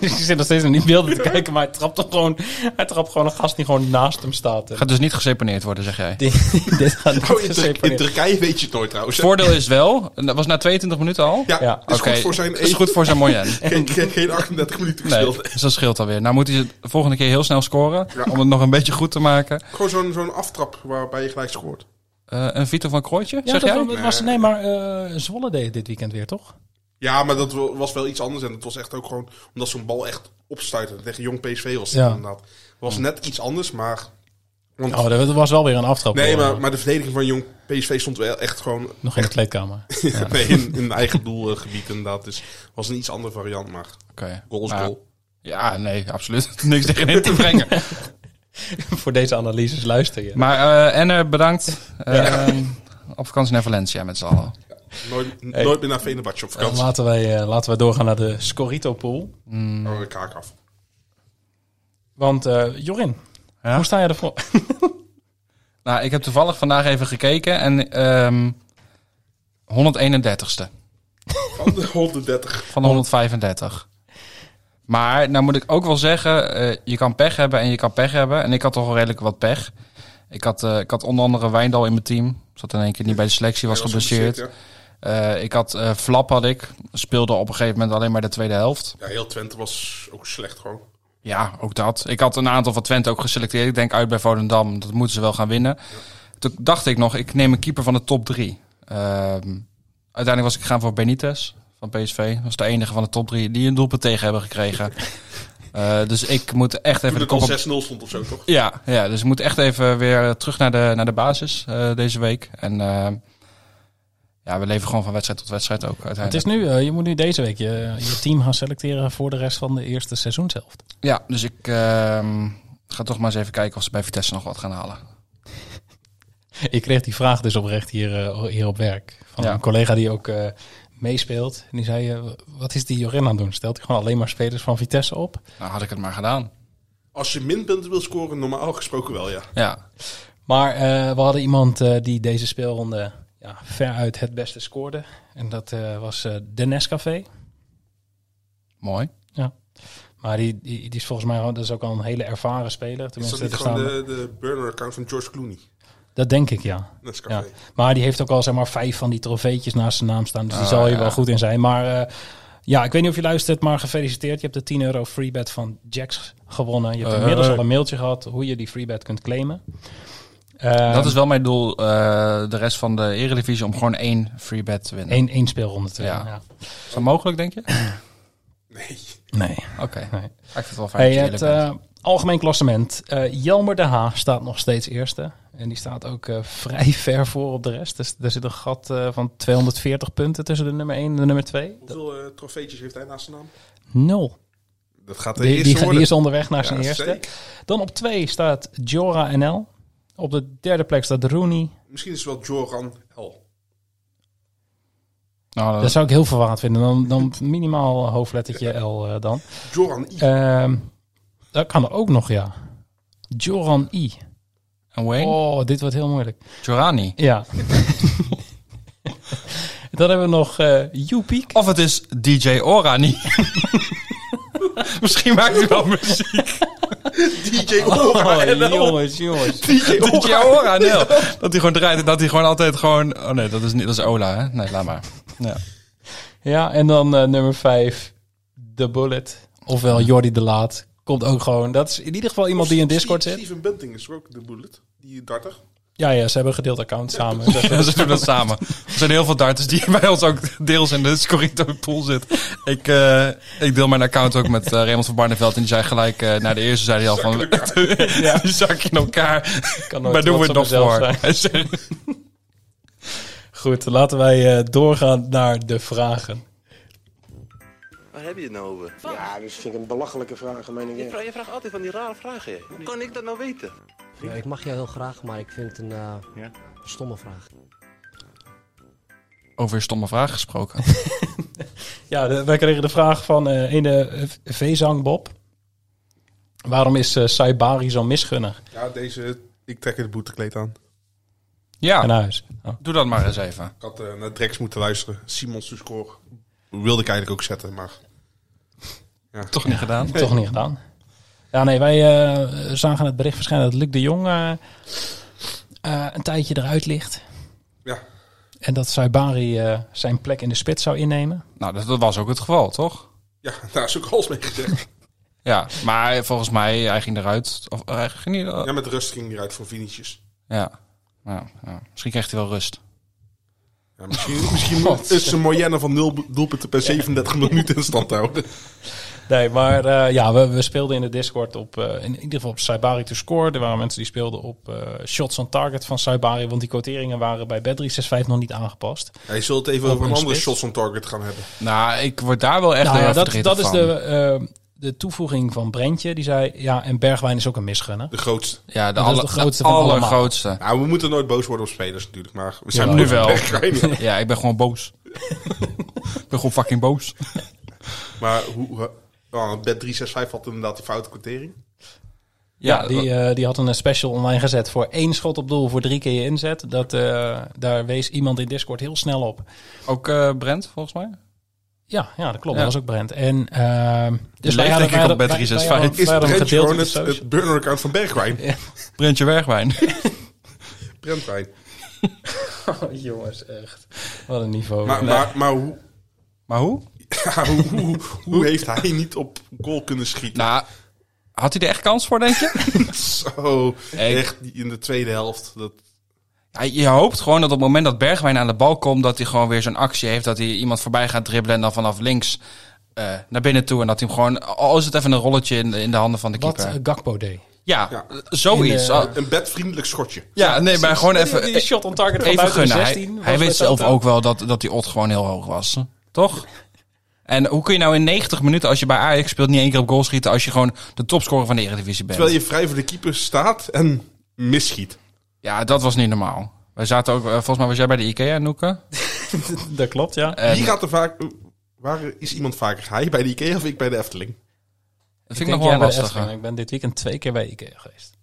S6: dus je zit nog steeds naar die beelden te kijken, maar hij trapt toch gewoon, hij trapt gewoon een gast die gewoon naast hem staat.
S7: Gaat dus niet geseponeerd worden, zeg jij.
S6: Dit, dit gaat niet
S8: Oh, in, Turk- in
S6: geseponeerd.
S8: Turkije weet je het nooit trouwens. hè?
S7: Voordeel is wel, en dat was na 22 minuten al.
S8: ja,
S6: Ja,
S8: is
S7: Oké,
S8: goed voor zijn
S7: Is goed voor zijn moyen.
S8: Geen, geen, geen 38 minuten
S7: Nee,
S8: gespeeld.
S7: dus dat scheelt alweer. Nou moet hij de volgende keer heel snel scoren. Om het nog een beetje goed te maken.
S8: Gewoon zo'n zo'n aftrap waarbij je gelijk scoort.
S7: Eh, een Vito van Krooitje,
S6: Ja,
S7: zeg
S6: dat
S7: jij?
S6: dat was, nee, maar eh, Zwolle deed het dit weekend weer, toch?
S8: Ja, maar dat wa- was wel iets anders. En het was echt ook gewoon omdat zo'n bal echt opstuitte. Tegen jong PSV was het
S6: Ja.
S8: inderdaad. Was net iets anders, maar... Want,
S6: Oh, dat was wel weer een aftrap.
S8: nee,
S6: hoor.
S8: maar, maar de verdediging van jong PSV stond wel echt gewoon
S6: Nog in de kleedkamer.
S8: nee, in, in eigen doelgebied inderdaad. Dus was een iets andere variant, maar
S7: Oké.
S8: goal is
S7: Nou,
S8: goal.
S7: Ja, nee, absoluut. Niks tegen in te brengen.
S6: Voor deze analyses luister je.
S7: Maar eh Enne, bedankt. Eh, Op vakantie naar Valencia met z'n allen.
S8: Nooit,
S6: Hey.
S8: nooit meer naar Venebadje op
S6: Eh,
S8: vakantie.
S6: laten, wij, eh, laten wij doorgaan naar de Scorito-pool.
S8: Oh, kaak af.
S6: Want eh, Jorin,
S7: Ja?
S6: hoe sta je ervoor?
S7: Nou, ik heb toevallig vandaag even gekeken en ehm 131ste
S8: Van de 130.
S7: van de 135. Maar nou moet ik ook wel zeggen, eh, je kan pech hebben en je kan pech hebben. En ik had toch wel redelijk wat pech. Ik had, eh, ik had onder andere Wijndal in mijn team. Zat in één keer niet bij de selectie, was
S8: Ja, was
S7: geblesseerd.
S8: geblesseerd,
S7: Eh, ik had eh, Flap had ik. Speelde op een gegeven moment alleen maar de tweede helft.
S8: Ja, Ja, heel Twente was ook slecht gewoon.
S7: Ja, ook dat. Ik had een aantal van Twente ook geselecteerd. Ik denk uit bij Volendam. Dat moeten ze wel gaan winnen. Toen dacht ik nog, ik neem een keeper van de top drie. Ehm, uiteindelijk was ik gegaan voor Benitez van PSV. Dat was de enige van de top drie die een doelpunt tegen hebben gekregen. Eh, dus ik moet echt even
S8: Toen
S7: de
S8: het
S7: kop
S8: al
S7: op
S8: 6-0 stond of zo, toch?
S7: ja, ja, dus ik moet echt even weer terug naar de, naar de basis eh, deze week. En eh, ja, we leven gewoon van wedstrijd tot wedstrijd ook
S6: Het
S7: uiteindelijk.
S6: is nu, eh, je moet nu deze week je, je team gaan selecteren voor de rest van de eerste seizoenshelft.
S7: Ja, dus ik ehm, ga toch maar eens even kijken of ze bij Vitesse nog wat gaan halen.
S6: Ik kreeg die vraag dus oprecht hier, eh, hier op werk. Van
S7: Ja.
S6: een collega die ook eh, meespeelt. En die zei, eh, wat is die Jorin aan het doen? Stelt hij gewoon alleen maar spelers van Vitesse op?
S7: Nou, had ik het maar gedaan.
S8: Als je minpunten wil scoren, normaal gesproken wel, ja.
S7: Ja,
S6: Maar eh, we hadden iemand eh, die deze speelronde ja, veruit het beste scoorde. En dat eh, was eh de Nescafé.
S7: mooi.
S6: Maar die, die, die is volgens mij dat is ook al een hele ervaren speler.
S8: Is dat
S6: Tenminste,
S8: niet
S6: dat,
S8: gewoon de, de burner-account van George Clooney?
S6: dat denk ik, ja.
S8: Nescafé.
S6: Ja. Maar die heeft ook al zeg maar vijf van die trofeetjes naast zijn naam staan. Dus die
S7: Ah,
S6: zal hier
S7: ja.
S6: wel goed in zijn. Maar eh, ja, ik weet niet of je luistert, maar gefeliciteerd. Je hebt de 10 euro freebet van Jax gewonnen. Je hebt
S7: Eh.
S6: inmiddels al een mailtje gehad hoe je die freebet kunt claimen. Eh,
S7: dat is wel mijn doel, eh, de rest van de eredivisie, om gewoon één free bet te winnen.
S6: één, één speelronde te
S7: Ja.
S6: winnen, ja.
S7: Is dat mogelijk, denk je?
S8: Nee.
S6: Nee.
S7: Oké, Ah,
S6: Nee.
S7: ik vind het wel fijn
S6: Hey,
S7: dat je
S6: het
S7: eerlijk bent.
S6: eh, algemeen klassement. Eh, Jelmer de Haag staat nog steeds eerste. En die staat ook eh, vrij ver voor op de rest. Dus er zit een gat eh, van 240 punten tussen de nummer 1 en de nummer 2.
S8: Hoeveel eh, trofeetjes heeft hij naast zijn naam?
S6: Nul.
S8: Dat gaat de
S6: Die, die,
S8: eerste
S6: ga- die is onderweg naar zijn
S8: Ja,
S6: eerste.
S8: zeker.
S6: Dan op twee staat Jora NL. Op de derde plek staat Rooney.
S8: Misschien is het wel Joran L.
S7: Nou,
S8: Ah.
S7: dat-
S6: Dat zou ik heel verwaard vinden. Dan, dan minimaal hoofdlettertje L eh, dan.
S8: Joran I.
S6: Ehm, dat kan er ook nog, ja. Joran I.
S7: en Wayne?
S6: Oh, dit wordt heel moeilijk.
S7: Giorani.
S6: Ja. dan hebben we nog eh Joepiek.
S7: Of het is DJ Orani. Misschien maakt hij wel muziek.
S8: DJ Joran L.
S6: jongens.
S8: DJ
S7: DJ
S8: Joran.
S7: Orani. Dat hij gewoon draait en dat hij gewoon altijd gewoon... Oh nee, dat is, niet, dat is Ola, hè? Nee, laat maar. Ja.
S6: Ja, en dan eh, nummer 5, The Bullet. Ofwel Jordi de Laat. Komt ook gewoon. Dat is in ieder geval iemand die in Discord zit.
S8: Steven Bunting is ook de bullet. Die darter.
S6: Ja, ja, ze hebben een gedeeld account samen. dus Dat-
S7: Ja, ze doen dat samen. Er zijn heel veel darters die bij ons ook deels in de Scorito pool zitten. Ik, eh, ik deel mijn account ook met eh, Raymond van Barneveld. En die zei gelijk eh, na de eerste zei hij al van... ja, die zak in elkaar.
S6: kan nooit
S7: Maar doen we het nog
S6: trots op mezelf
S7: voor.
S6: zijn.
S7: Hij zei,
S6: Goed, laten wij eh, doorgaan naar de vragen.
S10: Waar heb je het nou over?
S3: Ja, dat vind ik een belachelijke vraag, meen ik. echt.
S10: Je vraagt altijd van die rare vragen. hè. Hoe kan ik dat nou weten?
S9: ik mag jou heel graag, maar ik vind het een eh, stomme vraag.
S7: Over een stomme vraag gesproken.
S6: Ja, de- wij kregen de vraag van eh ene eh, Vezang Bob. Waarom is eh, Saibari zo misgunnig
S8: Ja, deze... Ik trek het boetekleed aan.
S7: Ja, Ah.
S6: aan huis? Oh.
S7: doe dat maar eens even.
S8: Ik had eh, naar Drex moeten luisteren. Simons to score. Wilde ik eigenlijk ook zetten, maar...
S7: Toch niet gedaan.
S6: Toch niet gedaan. Ja, nee, wij eh, zagen het bericht verschijnen dat Luc de Jong eh, eh, een tijdje eruit ligt.
S8: Ja.
S6: En dat Saibari eh, zijn plek in de spits zou innemen.
S7: Nou, dat, dat was ook het geval, toch?
S8: Ja, daar is ook alles mee gezegd.
S7: Ja, maar volgens mij, hij ging eruit. Of eh, hij ging niet...
S8: Ja, met rust ging hij eruit voor finishjes.
S7: Ja. Nou, ja. Misschien kreeg hij wel rust.
S8: Ja, misschien misschien moet- is zijn moyenne van 0 doelpunten per 37 minuten in stand houden.
S6: Nee, maar eh, ja, we, we speelden in de Discord op, eh, in ieder geval op Saibari to score. Er waren mensen die speelden op eh, shots on target van Saibari. Want die quoteringen waren bij Bet365 nog niet aangepast.
S8: Ja, je zult het even
S6: Over
S8: over een
S6: een
S8: andere
S6: spits.
S8: shots on target gaan hebben.
S7: Nou, ik word daar wel echt
S6: Nou
S7: heel
S6: ja,
S7: erg
S6: dat,
S7: verdrietig
S6: dat is
S7: van.
S6: de, eh, de toevoeging van Brentje. Die zei, ja, en Bergwijn is ook een misgunner.
S8: De grootste.
S7: Ja, de,
S6: dat is
S7: alle,
S6: de grootste
S7: de
S6: van allemaal.
S7: allergrootste.
S8: Nou, we moeten nooit boos worden op spelers natuurlijk, maar we zijn
S7: nu wel.
S8: Bergwijn.
S7: Ja, ik ben gewoon boos. ik ben gewoon fucking boos.
S8: Maar hoe, hoe- oh, bet 365 had inderdaad die foute quotering.
S6: Ja, die, eh, die had een special online gezet voor één schot op doel voor drie keer je inzet. Dat, eh, daar wees iemand in Discord heel snel op.
S7: Ook eh, Brent, volgens mij.
S6: Ja, ja dat klopt.
S7: Ja.
S6: Dat was ook Brent. En, ehm
S7: leeft denk ik op
S6: hadden-
S7: bij
S6: wij-
S7: 365.
S6: wij hadden-
S8: Is
S6: wij hadden
S8: Brent
S6: hem gedeeld
S8: gewoon
S6: op de
S8: het,
S6: social.
S8: het burner-account van Bergwijn?
S7: Brentje Bergwijn.
S8: Brentwijn.
S6: Oh, Jongens, echt. Wat een niveau.
S8: Maar,
S6: Nee.
S8: maar, maar hoe,
S7: maar hoe?
S8: ja, hoe, hoe, hoe heeft hij niet op goal kunnen schieten?
S7: Nou, had hij er echt kans voor, denk je?
S6: Nou,
S8: Zo,
S7: Ik-
S8: Oh, echt die- in de tweede helft. Dat,
S7: Ja, je hoopt gewoon dat op het moment dat Bergwijn aan de bal komt... dat hij gewoon weer zo'n actie heeft. Dat hij iemand voorbij gaat dribbelen en dan vanaf links eh, naar binnen toe. En dat hij hem gewoon... Al is het even een rolletje in, in de handen van de
S6: Wat
S7: keeper.
S6: eh, Gakpo deed.
S7: ja,
S8: ja.
S7: zoiets.
S6: In, eh,
S7: Ah,
S8: een bedvriendelijk schotje.
S7: ja, nee, maar gewoon even...
S6: Die shot on target van
S7: Even
S6: buiten de
S7: gunnen.
S6: 16
S7: hij
S6: was
S7: hij
S6: met eh,
S7: wist zelf
S6: Toto.
S7: ook wel dat, dat die odd gewoon heel hoog was. Toch? En hoe kun je nou in 90 minuten, als je bij Ajax speelt, niet één keer op goal schieten... als je gewoon de topscorer van de Eredivisie bent?
S8: Terwijl je vrij voor de keeper staat en misschiet.
S7: Ja, dat was niet normaal. Wij zaten ook, eh, volgens mij was jij bij de Ikea, Noeke.
S6: Dat klopt, ja.
S7: En
S8: Wie gaat er vaak... Waar is iemand vaker? Hij bij de Ikea of ik bij de Efteling?
S7: dat
S6: Ik
S7: vind ik,
S6: denk,
S7: nog wel
S6: jij bij de
S7: lastig.
S6: Efteling. Ik ben dit weekend twee keer bij Ikea geweest.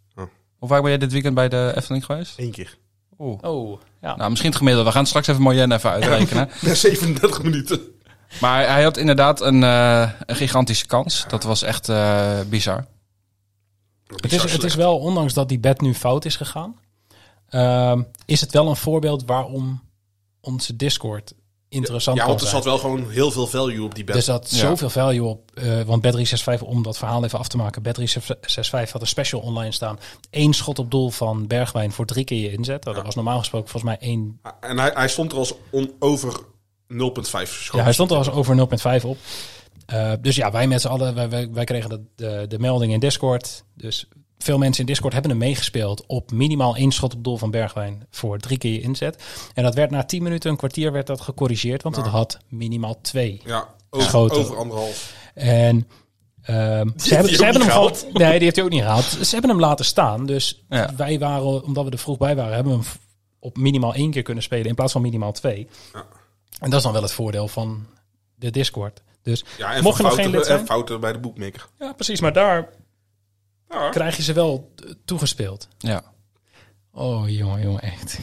S7: Hoe vaak ben jij dit weekend bij de Efteling geweest?
S8: Eén keer.
S6: Oh, ja.
S7: Nou, misschien het gemiddelde. We gaan straks even Marianne even uitrekenen.
S8: Na 37 minuten.
S7: maar hij had inderdaad een, eh, een gigantische kans. Dat was echt eh, bizar.
S6: Het is, het is wel, ondanks dat die bed nu fout is gegaan, ehm, is het wel een voorbeeld waarom onze Discord interessant
S8: Ja,
S6: kan
S8: want er
S6: zijn.
S8: zat wel gewoon heel veel value op die bed.
S6: Er zat
S7: Ja.
S6: zoveel value op, eh, want Bet365, om dat verhaal even af te maken, Bet365 had een special online staan. Eén schot op doel van Bergwijn voor drie keer je inzet. Nou, Dat was normaal gesproken volgens mij één...
S8: En hij, hij stond er als on, over 0,5
S6: Ja,
S8: schot.
S6: hij stond er als over 0.5 op. Eh, dus ja, wij met z'n allen, wij, wij, wij kregen de, de, de melding in Discord. Dus veel mensen in Discord hebben hem meegespeeld op minimaal één schot op doel van Bergwijn voor drie keer je inzet. En dat werd na 10 minuten, een kwartier, werd dat gecorrigeerd, want het had minimaal twee.
S8: Ja, over,
S6: Schoten.
S8: over anderhalf.
S6: En ehm, ze hebben,
S8: ook
S6: ze hebben
S8: niet
S6: hem gewoon. Nee, die heeft hij ook niet gehaald. Ze hebben hem laten staan. Dus
S7: Ja.
S6: wij waren, omdat we er vroeg bij waren, hebben we hem op minimaal één keer kunnen spelen in plaats van minimaal twee.
S8: Ja.
S6: En dat is dan wel het voordeel van de Discord. Dus
S8: Ja, en
S6: mocht je nog
S8: fouten,
S6: geen lid
S8: en
S6: zijn.
S8: fouten bij de boekmaker.
S6: Ja, precies. Maar daar
S8: Ja.
S6: krijg je ze wel eh, toegespeeld.
S7: Ja.
S6: Oh, jongen, jongen, echt.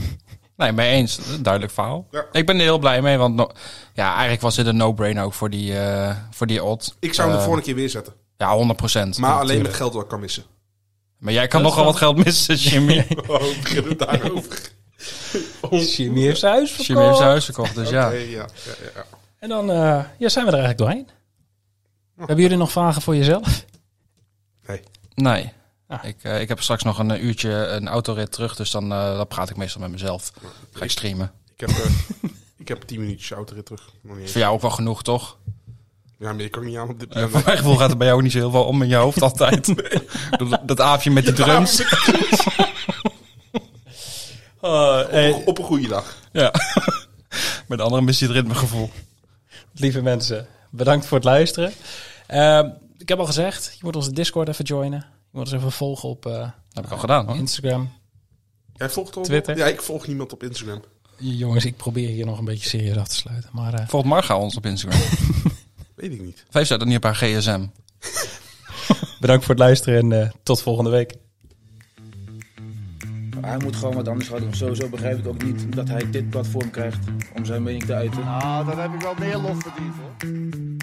S7: Nee, mee eens. Dat is een Duidelijk verhaal.
S8: Ja.
S7: Ik ben er heel blij mee, want no- ja, eigenlijk was dit een no-brainer ook voor die, eh, voor die odd.
S8: Ik zou hem
S7: Eh,
S8: de volgende keer weer zetten.
S7: Ja, 100 procent.
S8: Maar alleen met geld dat ik kan missen.
S7: Maar jij kan
S6: Dat is
S7: nogal
S6: wel-
S7: wat geld missen, Jimmy.
S8: Oh, beginnen we daarover.
S6: Jimmy heeft zijn huis verkocht.
S7: Jimmy heeft zijn huis verkocht, dus ja.
S8: Oké, Oh. ja, ja, ja, ja.
S6: En dan eh, ja, zijn we er eigenlijk doorheen. Hebben jullie nog vragen voor jezelf?
S7: Nee.
S6: Ah.
S7: Ik, eh, ik heb straks nog een eh, uurtje een autorit terug, dus dan, eh, dan praat ik meestal met mezelf. Ga ik streamen.
S8: Ik heb, eh, ik heb 10 minuutjes autorit terug. Nog niet
S7: Is
S8: eens.
S7: voor jou ook wel genoeg, toch?
S8: Ja, maar ik kan niet aan op dit
S7: Eh,
S8: moment.
S7: voor mijn gevoel gaat het bij jou niet zo heel veel om in je hoofd altijd. dat, dat aapje met die drums.
S6: Eh,
S8: op, op een goede dag.
S7: Ja. Met de andere mist hij het ritmegevoel.
S6: Lieve mensen, bedankt voor het luisteren. Ehm, ik heb al gezegd, je moet onze Discord even joinen. Je moet ons even volgen op eh,
S7: Dat heb ik al gedaan, hoor.
S6: Instagram.
S8: Jij volgt op
S6: Twitter.
S8: Ja, ik volg niemand op Instagram.
S6: Jongens, ik probeer hier nog een beetje serieus af te sluiten. Maar eh,
S7: Volgt Marga ons op Instagram. of
S8: Weet ik niet.
S7: heeft zij dat niet op haar gsm?
S6: bedankt voor het luisteren en eh, tot volgende week.
S5: Hij moet gewoon wat anders gaan doen. Sowieso begrijp ik ook niet dat hij dit platform krijgt om zijn mening te uiten.
S10: Ah, dat heb ik wel meer lof verdiend hoor.